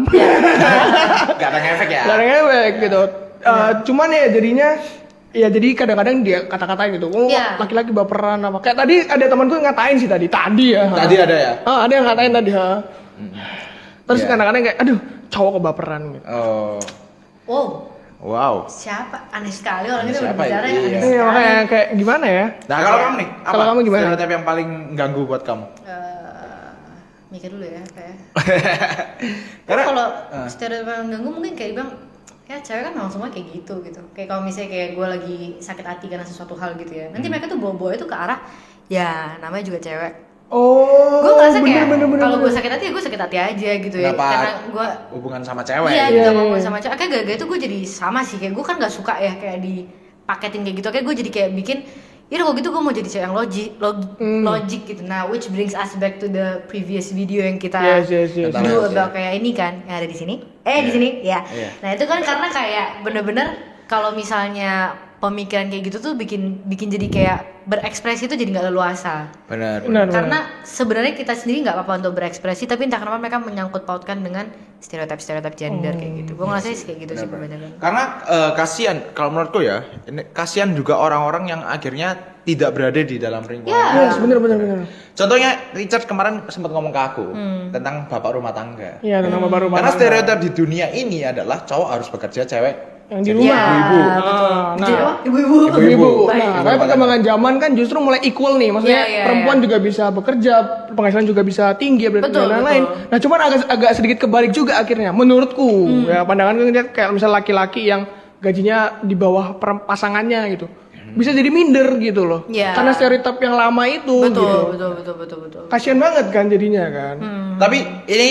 Speaker 1: nggak ada efek ya
Speaker 2: Gak ada ngewek gitu.
Speaker 1: Iya.
Speaker 2: Eh, cuman ya jadinya ya jadi kadang-kadang dia kata-katain gitu. Oh,
Speaker 3: Iya.
Speaker 2: laki-laki baperan apa. Kayak tadi ada temanku yang ngatain sih tadi. Tadi ya. ha.
Speaker 1: tadi ada ya
Speaker 2: Ah, ada yang ngatain tadi, ha. Terus
Speaker 1: Iya.
Speaker 2: kadang-kadang kayak aduh, cowok kebaperan gitu.
Speaker 1: oh
Speaker 3: Wow,
Speaker 1: wow
Speaker 3: Oh, siapa? Aneh sekali orang itu
Speaker 1: Siapa
Speaker 3: berbicara
Speaker 1: itu?
Speaker 3: yang aneh
Speaker 1: Iya.
Speaker 2: Iya,
Speaker 3: sekali.
Speaker 2: makanya kayak gimana ya?
Speaker 1: nah kalau kamu nih apa
Speaker 2: Kalau kamu gimana?
Speaker 1: stereotip yang paling ganggu buat kamu
Speaker 3: Eh, mikir dulu ya kayak.
Speaker 1: karena
Speaker 3: kalau
Speaker 2: Ah.
Speaker 1: Eh.
Speaker 3: stereotip yang ganggu mungkin kayak bang ya cewek kan memang semua kayak gitu gitu kayak kalau misalnya kayak gue lagi sakit hati karena sesuatu hal gitu ya nanti
Speaker 2: Hmm.
Speaker 3: mereka tuh bawa-bawa itu ke arah ya namanya juga cewek
Speaker 2: Oh,
Speaker 3: gue ngerasa
Speaker 2: bener,
Speaker 3: kayak
Speaker 2: bener, bener,
Speaker 3: kalau gue
Speaker 2: bener.
Speaker 3: sakit hati ya gue sakit hati aja gitu ya
Speaker 1: kenapa
Speaker 3: karena gue
Speaker 1: hubungan sama cewek gitu?
Speaker 3: iya gitu
Speaker 2: Iya,
Speaker 3: sama gue
Speaker 2: iya.
Speaker 3: sama cewek kayak gara-gara itu gue jadi sama sih kayak gue kan nggak suka ya kayak dipaketin kayak gitu kayak gue jadi kayak bikin Yaudah kalau gitu gue mau jadi cewek yang logic, log-
Speaker 2: Hmm.
Speaker 3: logic gitu. Nah, which brings us back to the previous video yang
Speaker 1: Iya.
Speaker 3: kita
Speaker 2: Yes, yes, yes.
Speaker 1: Tentang-
Speaker 3: dulu
Speaker 1: Iya.
Speaker 3: about kayak ini kan yang ada di sini eh
Speaker 1: Iya.
Speaker 3: di sini ya
Speaker 1: Iya.
Speaker 3: nah itu kan karena kayak bener-bener kalau misalnya pemikiran kayak gitu tuh bikin bikin jadi kayak berekspresi itu jadi nggak leluasa
Speaker 1: benar
Speaker 2: Benar, benar.
Speaker 3: karena sebenarnya kita sendiri nggak apa-apa untuk berekspresi tapi entah kenapa mereka menyangkut pautkan dengan stereotip stereotip gender kayak
Speaker 1: Iya
Speaker 3: gitu gue ngerasa sih kayak gitu sih
Speaker 1: Benar,
Speaker 3: sebenarnya
Speaker 1: Pak. Karena eh, kasihan kalau menurutku ya, ini kasihan juga orang-orang yang akhirnya tidak berada di dalam lingkungan.
Speaker 3: Ya.
Speaker 2: Yes, bener bener bener.
Speaker 1: Contohnya Richard kemarin sempat ngomong ke aku
Speaker 3: Hmm.
Speaker 1: tentang bapak rumah tangga.
Speaker 2: Iya, ada nama baru
Speaker 1: Hmm. Karena
Speaker 2: baru.
Speaker 1: stereotip di dunia ini adalah cowok harus bekerja, cewek
Speaker 2: yang di
Speaker 1: jadi
Speaker 2: rumah.
Speaker 1: ibu-ibu.
Speaker 3: Iya.
Speaker 2: Ah,
Speaker 3: Jadi
Speaker 1: Iya.
Speaker 2: nah.
Speaker 3: apa? ibu-ibu
Speaker 1: Ibu-ibu.
Speaker 2: Ibu.
Speaker 1: Baik.
Speaker 2: Nah, tapi perkembangan zaman kan justru mulai equal nih. Maksudnya
Speaker 3: Iya, iya,
Speaker 2: perempuan
Speaker 3: iya.
Speaker 2: juga bisa bekerja, penghasilan juga bisa tinggi dan
Speaker 3: Betul,
Speaker 2: dan lain-lain.
Speaker 3: betul. Hmm.
Speaker 2: Nah, cuman agak agak sedikit kebalik juga akhirnya menurutku. Ya, pandangan dia kayak misal laki-laki yang gajinya di bawah per- pasangannya gitu. Bisa jadi minder gitu loh.
Speaker 3: Iya.
Speaker 2: Karena stereotip yang lama itu
Speaker 3: betul, Hmm.
Speaker 2: gitu.
Speaker 3: betul betul betul betul
Speaker 2: Kasihan banget kan jadinya kan.
Speaker 1: Tapi ini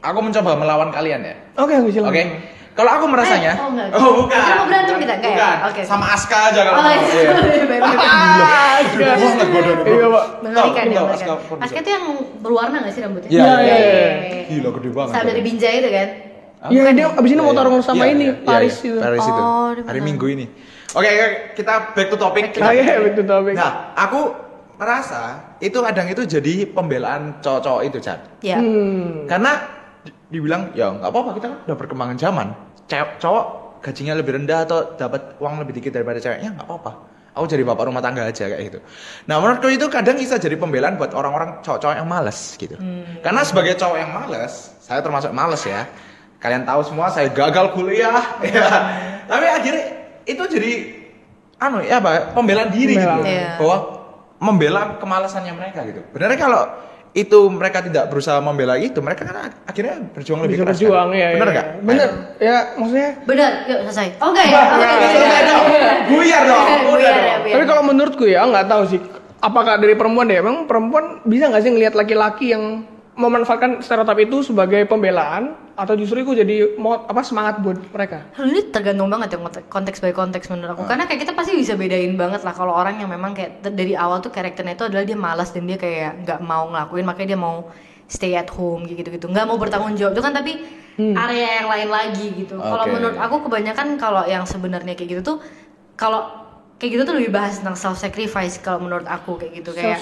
Speaker 1: aku mencoba melawan kalian ya.
Speaker 2: Oke, oke,
Speaker 1: Oke.
Speaker 2: silakan.
Speaker 1: Kalau aku merasanya,
Speaker 3: Eh, oh, enggak.
Speaker 1: bukan.
Speaker 3: Kita mau berantem kita, enggak ya?
Speaker 1: Bukan.
Speaker 3: Oke.
Speaker 1: Sama Aska aja kalau.
Speaker 3: Oh,
Speaker 1: mau.
Speaker 3: iya.
Speaker 2: Ah,
Speaker 1: Iya. Wah, ngegodok.
Speaker 2: Iya, Pak.
Speaker 1: Tahu,
Speaker 3: Mengerikan ya,
Speaker 1: tahu,
Speaker 3: mengerikan.
Speaker 1: Aska-
Speaker 3: Aska itu yang berwarna gak sih rambutnya?
Speaker 1: Iya,
Speaker 2: iya, iya.
Speaker 1: Gila gede banget.
Speaker 3: Saat dari Binjai itu kan?
Speaker 2: Iya, dia abis ini mau tarung sama
Speaker 1: Iya,
Speaker 2: ini, Paris
Speaker 1: itu.
Speaker 2: itu.
Speaker 1: Paris itu.
Speaker 3: Oh, di
Speaker 1: Hari
Speaker 3: mana?
Speaker 1: Minggu ini. Oke, oke, kita back to topic.
Speaker 3: Back to
Speaker 1: Kita-
Speaker 2: Ah, iya, betul topik.
Speaker 1: Nah, aku merasa itu kadang itu jadi pembelaan cowok-cowok itu, Chan.
Speaker 3: Iya.
Speaker 2: Hmm.
Speaker 1: Karena di- dibilang ya nggak apa-apa kita kan udah perkembangan zaman. Cewek cowok gajinya lebih rendah atau dapat uang lebih dikit daripada ceweknya nggak apa-apa. Aku jadi bapak rumah tangga aja kayak gitu. Nah menurutku itu kadang bisa jadi pembelaan buat orang-orang cowok-cowok yang males gitu.
Speaker 2: Hmm.
Speaker 1: Karena sebagai cowok yang males, saya termasuk males ya. Kalian tahu semua saya gagal kuliah. ya.
Speaker 2: Hmm.
Speaker 1: Tapi akhirnya itu jadi anu ya apa pembelaan diri gitu.
Speaker 2: Pembelaan.
Speaker 3: Iya.
Speaker 1: Bahwa membela kemalasannya mereka gitu. Benarnya kalau itu mereka tidak berusaha membela itu, mereka kan ak- akhirnya berjuang lebih
Speaker 2: bisa
Speaker 1: keras.
Speaker 2: berjuang
Speaker 1: kan?
Speaker 2: ya.
Speaker 1: Bener
Speaker 2: ya.
Speaker 1: nggak?
Speaker 2: Bener. Ya maksudnya.
Speaker 3: Benar, yuk selesai. Oh enggak ya? Oke,
Speaker 1: Nah,
Speaker 3: oke,
Speaker 1: selesai
Speaker 3: oke.
Speaker 1: dong. Buyar dong. Udah
Speaker 3: Buyar ya,
Speaker 1: dong.
Speaker 3: buyar.
Speaker 2: Tapi kalau menurutku ya nggak tahu sih. Apakah dari perempuan ya? Emang perempuan bisa nggak sih ngelihat laki-laki yang memanfaatkan stereotip itu sebagai pembelaan atau justru itu jadi mo- apa semangat buat mereka?
Speaker 3: Aduh, ini tergantung banget ya kont- konteks by konteks menurut aku karena kayak kita pasti bisa bedain banget lah kalau orang yang memang kayak t- dari awal tuh karakternya itu adalah dia malas dan dia kayak nggak mau ngelakuin makanya dia mau stay at home gitu gitu nggak mau bertanggung jawab itu kan tapi area yang lain lagi gitu kalau
Speaker 1: Oke.
Speaker 3: menurut aku kebanyakan kalau yang sebenarnya kayak gitu tuh kalau kayak gitu tuh lebih bahas tentang self sacrifice kalau menurut aku kayak gitu kayak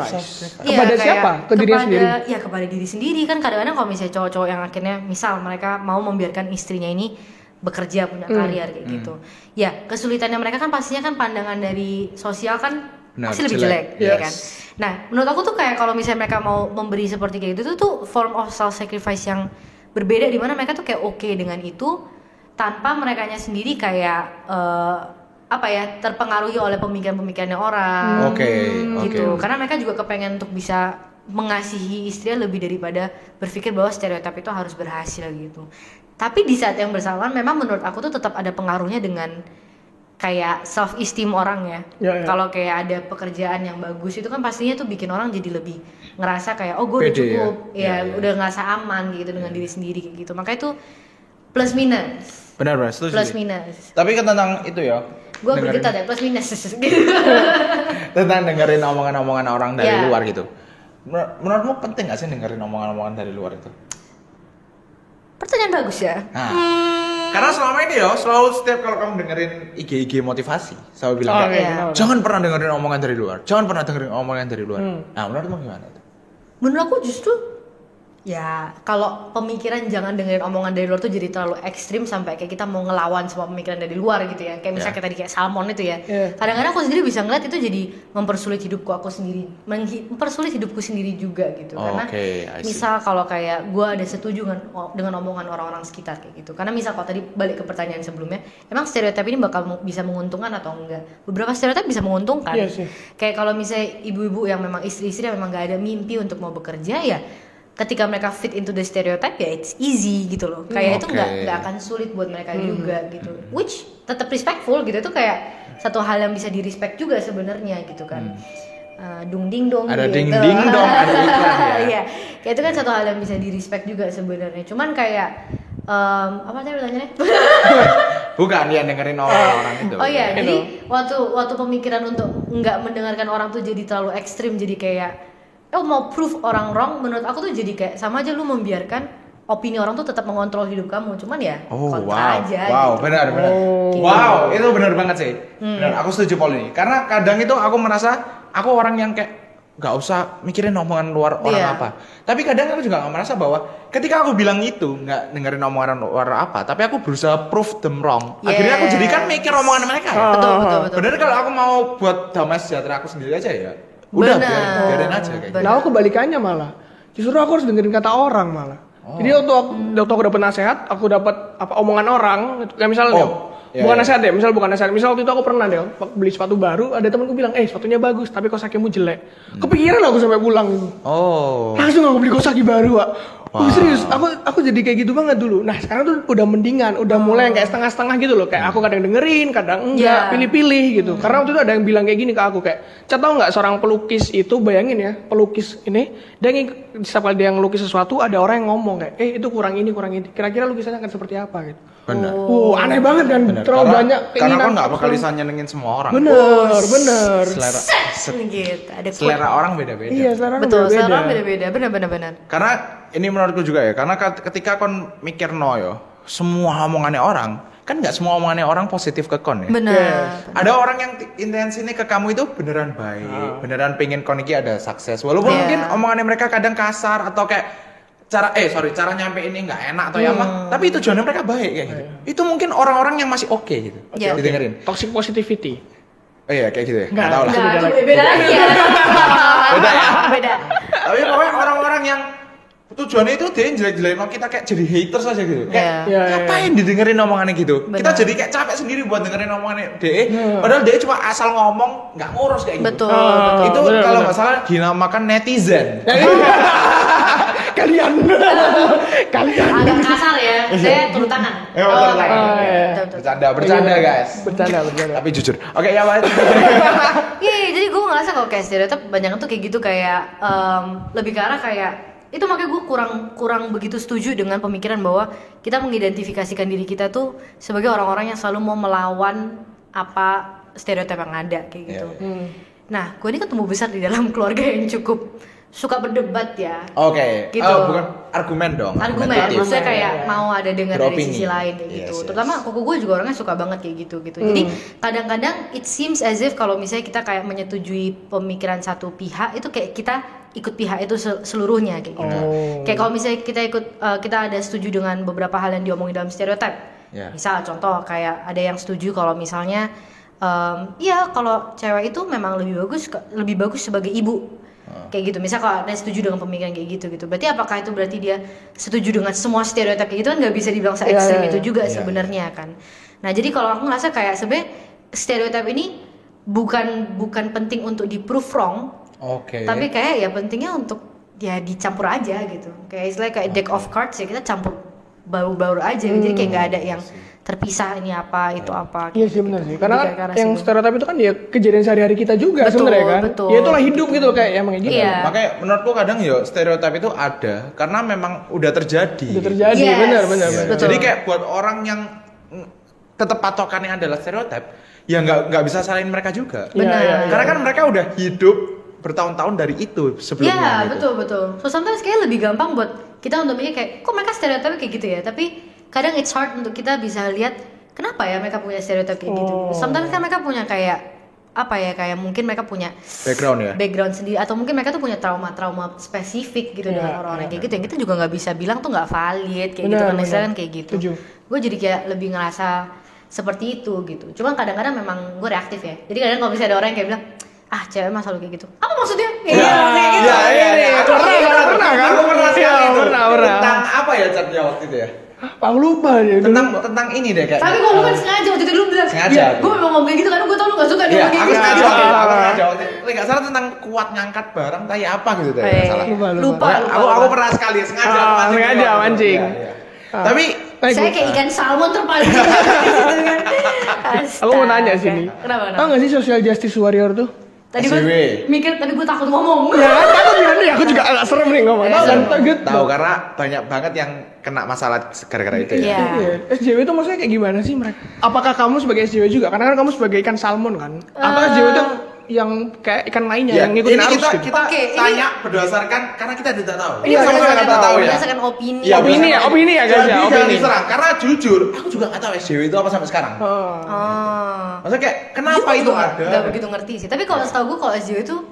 Speaker 2: Self-sacrifice.
Speaker 3: Iya,
Speaker 2: Kepada
Speaker 3: kayak
Speaker 2: siapa? Ke dirinya
Speaker 3: kepada-
Speaker 2: sendiri.
Speaker 3: Iya kepada diri sendiri kan kadang-kadang kalau misalnya cowok-cowok yang akhirnya misal mereka mau membiarkan istrinya ini bekerja punya
Speaker 2: Hmm.
Speaker 3: karier kayak
Speaker 1: Hmm.
Speaker 3: gitu. Ya kesulitannya mereka kan pastinya kan pandangan dari sosial kan
Speaker 1: Benar,
Speaker 3: pasti lebih
Speaker 1: jelek.
Speaker 3: jelek, ya
Speaker 1: Yes.
Speaker 3: kan. Nah menurut aku tuh kayak kalau misalnya mereka mau memberi seperti kayak gitu tuh, tuh form of self sacrifice yang berbeda di mana mereka tuh kayak oke dengan itu tanpa merekanya sendiri kayak eh, apa ya terpengaruhi oleh pemikiran-pemikirannya orang
Speaker 1: Oke, oke.
Speaker 3: gitu karena mereka juga kepengen untuk bisa mengasihi istrinya lebih daripada berpikir bahwa stereotip itu harus berhasil gitu tapi di saat yang bersamaan memang menurut aku tuh tetap ada pengaruhnya dengan kayak self esteem orang ya
Speaker 2: Ya, ya.
Speaker 3: kalau kayak ada pekerjaan yang bagus itu kan pastinya tuh bikin orang jadi lebih ngerasa kayak oh gue
Speaker 1: Pede
Speaker 3: udah
Speaker 1: ya.
Speaker 3: cukup ya,
Speaker 1: Ya, ya.
Speaker 3: udah ngerasa aman gitu dengan diri sendiri kayak gitu makanya tuh plus minus
Speaker 1: Benar benar. Setuju.
Speaker 3: plus
Speaker 1: sih.
Speaker 3: minus
Speaker 1: Tapi kan tentang itu ya.
Speaker 3: gue
Speaker 1: dengerin-
Speaker 3: bergetar ya plus minus gitu
Speaker 1: Tentang dengerin omongan-omongan orang dari
Speaker 3: Ya.
Speaker 1: luar gitu. Menur- Menurutmu penting gak sih dengerin omongan-omongan dari luar itu?
Speaker 3: pertanyaan bagus ya
Speaker 1: Nah. Karena selama ini ya, selalu setiap kalau kamu dengerin IG-IG motivasi, saya bilang
Speaker 2: Oh,
Speaker 1: kayak,
Speaker 2: iya,
Speaker 3: Iya.
Speaker 2: kenapa?
Speaker 1: jangan pernah dengerin omongan dari luar, jangan pernah dengerin omongan dari luar.
Speaker 2: Hmm.
Speaker 1: Nah, menurutmu gimana itu?
Speaker 3: menurut aku justru ya kalau pemikiran jangan dengerin omongan dari luar tuh jadi terlalu ekstrim sampai kayak kita mau ngelawan semua pemikiran dari luar gitu ya kayak
Speaker 1: Ya.
Speaker 3: misalnya kayak tadi kayak salmon itu ya
Speaker 2: Iya.
Speaker 3: kadang-kadang aku sendiri bisa ngeliat itu jadi mempersulit hidupku aku sendiri menghi- mempersulit hidupku sendiri juga gitu
Speaker 1: Oh,
Speaker 3: karena
Speaker 1: okay, I see.
Speaker 3: misal kalau kayak gue ada setuju dengan, dengan omongan orang-orang sekitar kayak gitu karena misal kalau tadi balik ke pertanyaan sebelumnya emang stereotip ini bakal mu- bisa menguntungkan atau enggak beberapa stereotip bisa menguntungkan
Speaker 2: Iya sih.
Speaker 3: Kayak kalau misalnya ibu-ibu yang memang istri-istri yang memang gak ada mimpi untuk mau bekerja ya ketika mereka fit into the stereotype ya it's easy gitu loh. Kayak itu
Speaker 1: Oke.
Speaker 3: nggak nggak akan sulit buat mereka
Speaker 2: Hmm.
Speaker 3: juga gitu. Which tetap respectful gitu itu kayak satu hal yang bisa di respect juga sebenarnya gitu kan. Eh, dung ding dong
Speaker 1: Ada
Speaker 3: gitu.
Speaker 1: ding-ding dong, ada iklan ya.
Speaker 3: Iya. Kayak itu kan satu hal yang bisa di respect juga sebenarnya. Cuman kayak em, apa tadi pertanyaannya?
Speaker 1: Bukan yang dengerin orang-orang itu.
Speaker 3: Oh iya,
Speaker 2: Gitu.
Speaker 3: jadi waktu waktu pemikiran untuk nggak mendengarkan orang tuh jadi terlalu ekstrim, jadi kayak oh mau proof orang wrong, menurut aku tuh jadi kayak sama aja lu membiarkan opini orang tuh tetap mengontrol hidup kamu, cuman ya
Speaker 1: Oh wow,
Speaker 3: kontra aja.
Speaker 1: wow,
Speaker 3: gitu. Hmm.
Speaker 1: benar benar.
Speaker 2: Oh.
Speaker 1: Wow, itu benar banget sih. Benar, aku setuju Paul ini. Karena kadang itu aku merasa aku orang yang kayak nggak usah mikirin omongan luar orang
Speaker 3: Iya.
Speaker 1: apa. Tapi kadang aku juga nggak merasa bahwa ketika aku bilang itu nggak dengerin omongan luar apa, tapi aku berusaha prove them wrong. Akhirnya aku
Speaker 3: Yes. Oh,
Speaker 1: jadikan mikir omongan mereka. Ya.
Speaker 2: Ah,
Speaker 3: Betul betul betul.
Speaker 1: Benar kalau aku mau buat damai sejahtera aku sendiri aja ya. Udah
Speaker 3: Benar.
Speaker 1: biarin, biarin aja kayak gitu.
Speaker 3: Benar.
Speaker 2: Nah, aku kebalikannya malah. Justru aku harus dengerin kata orang malah.
Speaker 1: Oh.
Speaker 2: Jadi waktu aku, waktu aku dapat nasihat, aku dapat apa omongan orang, gitu. kayak misalnya
Speaker 1: Oh,
Speaker 2: Del,
Speaker 1: iya,
Speaker 2: bukan
Speaker 1: iya.
Speaker 2: nasihat deh, misal bukan nasihat. Misal waktu itu aku pernah deh beli sepatu baru, ada temanku bilang, "Eh, sepatunya bagus, tapi kosakimu jelek."
Speaker 1: Hmm.
Speaker 2: Kepikiran aku sampai pulang gitu.
Speaker 1: Oh.
Speaker 2: Langsung aku beli kosaki baru, Wak.
Speaker 1: Wow.
Speaker 2: Oh, serius, aku aku jadi kayak gitu banget dulu. Nah, sekarang tuh udah mendingan,
Speaker 1: Oh.
Speaker 2: udah mulai yang kayak setengah-setengah gitu loh. Kayak aku kadang dengerin, kadang enggak,
Speaker 1: Iya.
Speaker 3: Ya.
Speaker 2: pilih-pilih gitu. Karena waktu itu ada yang bilang kayak gini ke aku kayak, "Cat tau nggak seorang pelukis itu bayangin ya, pelukis ini dia ngik- setiap kali dia ngelukis sesuatu ada orang yang ngomong kayak, "Eh, itu kurang ini, kurang ini." Kira-kira lukisannya akan seperti apa gitu.
Speaker 1: Benar.
Speaker 2: Wow, aneh banget kan
Speaker 1: Benar.
Speaker 2: terlalu
Speaker 1: Oh. Karena-
Speaker 2: banyak
Speaker 1: Karena aku
Speaker 2: keinginan.
Speaker 1: nggak bakal bisa nyenengin semua orang.
Speaker 2: Bener, bener.
Speaker 1: Selera,
Speaker 3: gitu. Ada quote.
Speaker 1: selera orang beda-beda.
Speaker 2: Iya, selera orang
Speaker 3: Betul, selera
Speaker 2: beda-beda.
Speaker 3: orang beda-beda, benar-benar benar.
Speaker 1: Karena ini menurutku juga ya, karena kat- ketika kon mikir no yo, semua omongannya orang, kan nggak semua omongannya orang positif ke kon ya.
Speaker 3: Benar.
Speaker 1: Ada orang yang t- intensinya ke kamu itu beneran baik,
Speaker 2: Ah.
Speaker 1: beneran pengen kon iki ada sukses. Walaupun
Speaker 3: Iya.
Speaker 1: mungkin omongannya mereka kadang kasar atau kayak cara eh sorry cara nyampe ini nggak enak atau ya
Speaker 3: Hmm.
Speaker 1: apa, tapi itu tujuannya mereka baik kayak gitu.
Speaker 2: Iya.
Speaker 1: Itu mungkin orang-orang yang masih oke gitu.
Speaker 3: Iya.
Speaker 1: Didengerin.
Speaker 2: Toxic positivity.
Speaker 1: Oh iya kayak gitu ya.
Speaker 2: Nggak,
Speaker 1: Nggak tahu lah.
Speaker 3: Nah,
Speaker 2: Beda
Speaker 3: itu
Speaker 2: lagi.
Speaker 3: beda lagi ya.
Speaker 1: Beda ya?
Speaker 3: Beda.
Speaker 1: Tapi pokoknya orang-orang yang tujuannya itu dia jelek-jelekin orang, kita kayak jadi haters aja gitu. Kayak
Speaker 3: Iya.
Speaker 2: Iya, iya,
Speaker 1: ngapain didengerin omongannya gitu? Kita
Speaker 3: Benar.
Speaker 1: jadi kayak capek sendiri buat dengerin omongannya DE.
Speaker 2: Iya.
Speaker 1: Padahal DE cuma asal ngomong, nggak ngurus kayak gitu.
Speaker 3: Oh, Betul,
Speaker 2: Ah,
Speaker 3: betul.
Speaker 1: Itu
Speaker 2: benar,
Speaker 1: kalau
Speaker 2: benar.
Speaker 1: nggak salah dinamakan netizen.
Speaker 2: Kalian. Kalian.
Speaker 3: Agak kasar ya. Saya turun tangan.
Speaker 1: Eh, turun tangan.
Speaker 3: tangan.
Speaker 2: Oh, iya.
Speaker 3: Betul, betul.
Speaker 1: Bercanda, bercanda guys.
Speaker 2: Bercanda, bercanda.
Speaker 1: Tapi jujur. Oke ya mas.
Speaker 3: Iya, iya, jadi gue ngerasa kalau kayak stereotip banyak tuh kayak gitu kayak em, lebih ke arah kayak itu makanya gue kurang kurang begitu setuju dengan pemikiran bahwa kita mengidentifikasikan diri kita tuh sebagai orang-orang yang selalu mau melawan apa stereotip yang ada kayak gitu.
Speaker 1: Iya,
Speaker 3: Nah, gue ini kan tumbuh besar di dalam keluarga yang cukup suka berdebat ya.
Speaker 1: Oke.
Speaker 3: Gitu.
Speaker 1: Oh, bukan argumen dong.
Speaker 3: argumen,
Speaker 1: argumentatif.
Speaker 3: maksudnya kayak
Speaker 2: Iya.
Speaker 3: mau ada dengar dari
Speaker 1: Beropini.
Speaker 3: sisi lain kayak gitu.
Speaker 1: Yes, yes.
Speaker 3: Terutama koko gue juga orangnya suka banget kayak gitu gitu. Jadi kadang-kadang it seems as if kalau misalnya kita kayak menyetujui pemikiran satu pihak itu kayak kita ikut pihak itu se- seluruhnya kayak gitu.
Speaker 2: Oh.
Speaker 3: Kayak kalau misalnya kita ikut eh, kita ada setuju dengan beberapa hal yang diomongin dalam stereotip.
Speaker 1: Ya.
Speaker 3: Misal contoh kayak ada yang setuju kalau misalnya em, iya kalau cewek itu memang lebih bagus ke- lebih bagus sebagai ibu.
Speaker 1: Oh.
Speaker 3: Kayak gitu. Misal kalau ada setuju dengan pemikiran kayak gitu gitu. Berarti apakah itu berarti dia setuju dengan semua stereotip kayak gitu kan nggak bisa dibilang se
Speaker 2: Iya,
Speaker 3: ekstrem
Speaker 2: iya,
Speaker 3: itu
Speaker 2: iya.
Speaker 3: juga
Speaker 1: Iya, iya.
Speaker 3: sebenarnya kan. Nah, jadi kalau aku ngerasa kayak sebenarnya stereotip ini bukan bukan penting untuk di prove wrong,
Speaker 1: Oke.
Speaker 2: Iya.
Speaker 3: tapi kayak ya pentingnya untuk ya dicampur aja gitu kayak istilah kayak deck of cards ya kita campur baru-baru aja jadi kayak gitu. nggak ada yang terpisah ini apa itu apa gitu.
Speaker 2: Hmm, Iya sih benar sih. Karena kan
Speaker 3: Lebih kayak ke arah
Speaker 2: yang
Speaker 3: situ.
Speaker 2: stereotip itu kan ya kejadian sehari-hari kita juga
Speaker 3: Betul,
Speaker 2: sebenarnya kan.
Speaker 3: betul.
Speaker 2: Ya itulah hidup gitu loh kayak ya emang kayak gitu.
Speaker 3: Iya.
Speaker 1: Makanya menurutku kadang ya stereotip itu ada karena memang udah terjadi.
Speaker 2: Itu terjadi
Speaker 3: Yes,
Speaker 2: benar benar
Speaker 3: Iya.
Speaker 2: benar.
Speaker 3: betul.
Speaker 1: Jadi kayak buat orang yang mm, tetap patokannya adalah stereotip, ya nggak nggak bisa salahin mereka juga.
Speaker 2: Iya,
Speaker 3: Benar.
Speaker 2: iya, iya.
Speaker 1: Karena kan mereka udah hidup bertahun-tahun dari itu
Speaker 2: Iya,
Speaker 1: sebelumnya.
Speaker 3: Ya
Speaker 1: gitu.
Speaker 3: betul betul. So sometimes kayak lebih gampang buat kita untuk mikir kayak kok mereka stereotip kayak gitu ya. Tapi kadang it's hard untuk kita bisa lihat kenapa ya mereka punya stereotip kayak gitu.
Speaker 2: Oh.
Speaker 3: Sometimes kan mereka punya kayak apa ya kayak mungkin mereka punya
Speaker 1: Background ya.
Speaker 3: background sendiri atau mungkin mereka tuh punya trauma-trauma spesifik gitu
Speaker 2: Iya,
Speaker 3: dengan orang-orang kayak gitu yang kita juga nggak bisa bilang tuh nggak valid kayak
Speaker 2: Benar,
Speaker 3: gitu kan
Speaker 2: benar.
Speaker 3: misalnya kan kayak gitu
Speaker 2: Setuju.
Speaker 3: gue jadi kayak lebih ngerasa seperti itu gitu cuman kadang-kadang memang gue reaktif ya jadi kadang kalau misalnya ada orang yang kayak bilang ah cewek masa lu kayak gitu apa maksudnya kayak gitu, kayak gitu.
Speaker 1: Iya, iya, iya. Aku
Speaker 2: Pernah, pernah, pernah, kan?
Speaker 1: Aku pernah sekali
Speaker 2: Iya,
Speaker 1: itu.
Speaker 2: pernah, pernah.
Speaker 1: Tentang apa ya chatnya waktu itu ya?
Speaker 2: Pak aku lupa ya. dulu.
Speaker 1: Tentang tentang ini deh kayak.
Speaker 3: tapi gue bukan sengaja waktu itu lu bilang
Speaker 1: Sengaja.
Speaker 3: gue memang ngomong kayak gitu karena gue tau lu gak suka dia
Speaker 1: Iya,
Speaker 3: kayak
Speaker 1: aku
Speaker 3: gitu
Speaker 1: sengaja
Speaker 2: Iya.
Speaker 1: waktu itu, aku sengaja waktu itu. Nggak salah tentang kuat ngangkat barang, tanya apa gitu deh, nggak
Speaker 3: Eh,
Speaker 1: salah.
Speaker 2: Lupa, lupa.
Speaker 3: lupa
Speaker 1: Ya,
Speaker 3: lupa,
Speaker 1: aku aku
Speaker 3: lupa.
Speaker 1: pernah sekali sengaja
Speaker 2: Ah,
Speaker 1: mancing
Speaker 2: sengaja
Speaker 1: juga.
Speaker 2: mancing.
Speaker 1: Iya, iya.
Speaker 2: Ah.
Speaker 1: Tapi
Speaker 2: Eh,
Speaker 3: saya
Speaker 2: gua-
Speaker 3: kayak ikan salmon terpaling gitu kan.
Speaker 2: Aku mau nanya
Speaker 3: Astaga.
Speaker 2: sini.
Speaker 3: kenapa
Speaker 2: Tahu
Speaker 3: kenapa
Speaker 2: nggak sih social justice warrior tuh?
Speaker 3: Tadi gue
Speaker 1: SJW.
Speaker 3: mikir, tapi gue takut ngomong.
Speaker 2: Ya kan takut kan ya. Aku juga agak serem nih ngomong.
Speaker 3: Eh,
Speaker 2: Tahu kan?
Speaker 3: serem.
Speaker 2: Takut.
Speaker 1: tahu karena banyak banget yang kena masalah gara-gara itu ya.
Speaker 3: Iya.
Speaker 2: Iya. SJW itu maksudnya kayak gimana sih mereka? Apakah kamu sebagai SJW juga? Karena kan kamu sebagai ikan salmon kan. Apakah SJW
Speaker 3: Eh.
Speaker 2: itu yang kayak ikan lainnya
Speaker 1: Ya,
Speaker 2: yang
Speaker 1: ini
Speaker 2: ngikutin
Speaker 1: kita,
Speaker 2: arus
Speaker 1: kita,
Speaker 2: gitu?
Speaker 3: Oke, ini-
Speaker 1: tanya berdasarkan karena kita tidak tahu.
Speaker 3: Ini
Speaker 2: Iya,
Speaker 1: Sama-sama
Speaker 2: kita
Speaker 3: berdasarkan,
Speaker 1: nggak
Speaker 2: tahu ya.
Speaker 3: berdasarkan opini.
Speaker 1: Iya,
Speaker 2: Opini ya,
Speaker 1: berdasarkan
Speaker 2: opini ya, guys,
Speaker 1: Jadi
Speaker 2: ya,
Speaker 1: jangan
Speaker 2: opini.
Speaker 1: diserang karena jujur aku juga nggak tahu SJW itu apa sampai sekarang.
Speaker 2: Oh.
Speaker 3: Oh.
Speaker 1: Maksudnya kayak kenapa
Speaker 3: Jujur
Speaker 1: itu
Speaker 3: juga
Speaker 1: ada?
Speaker 3: Gak begitu ngerti sih. Tapi kalau setahu gue kalau SJW itu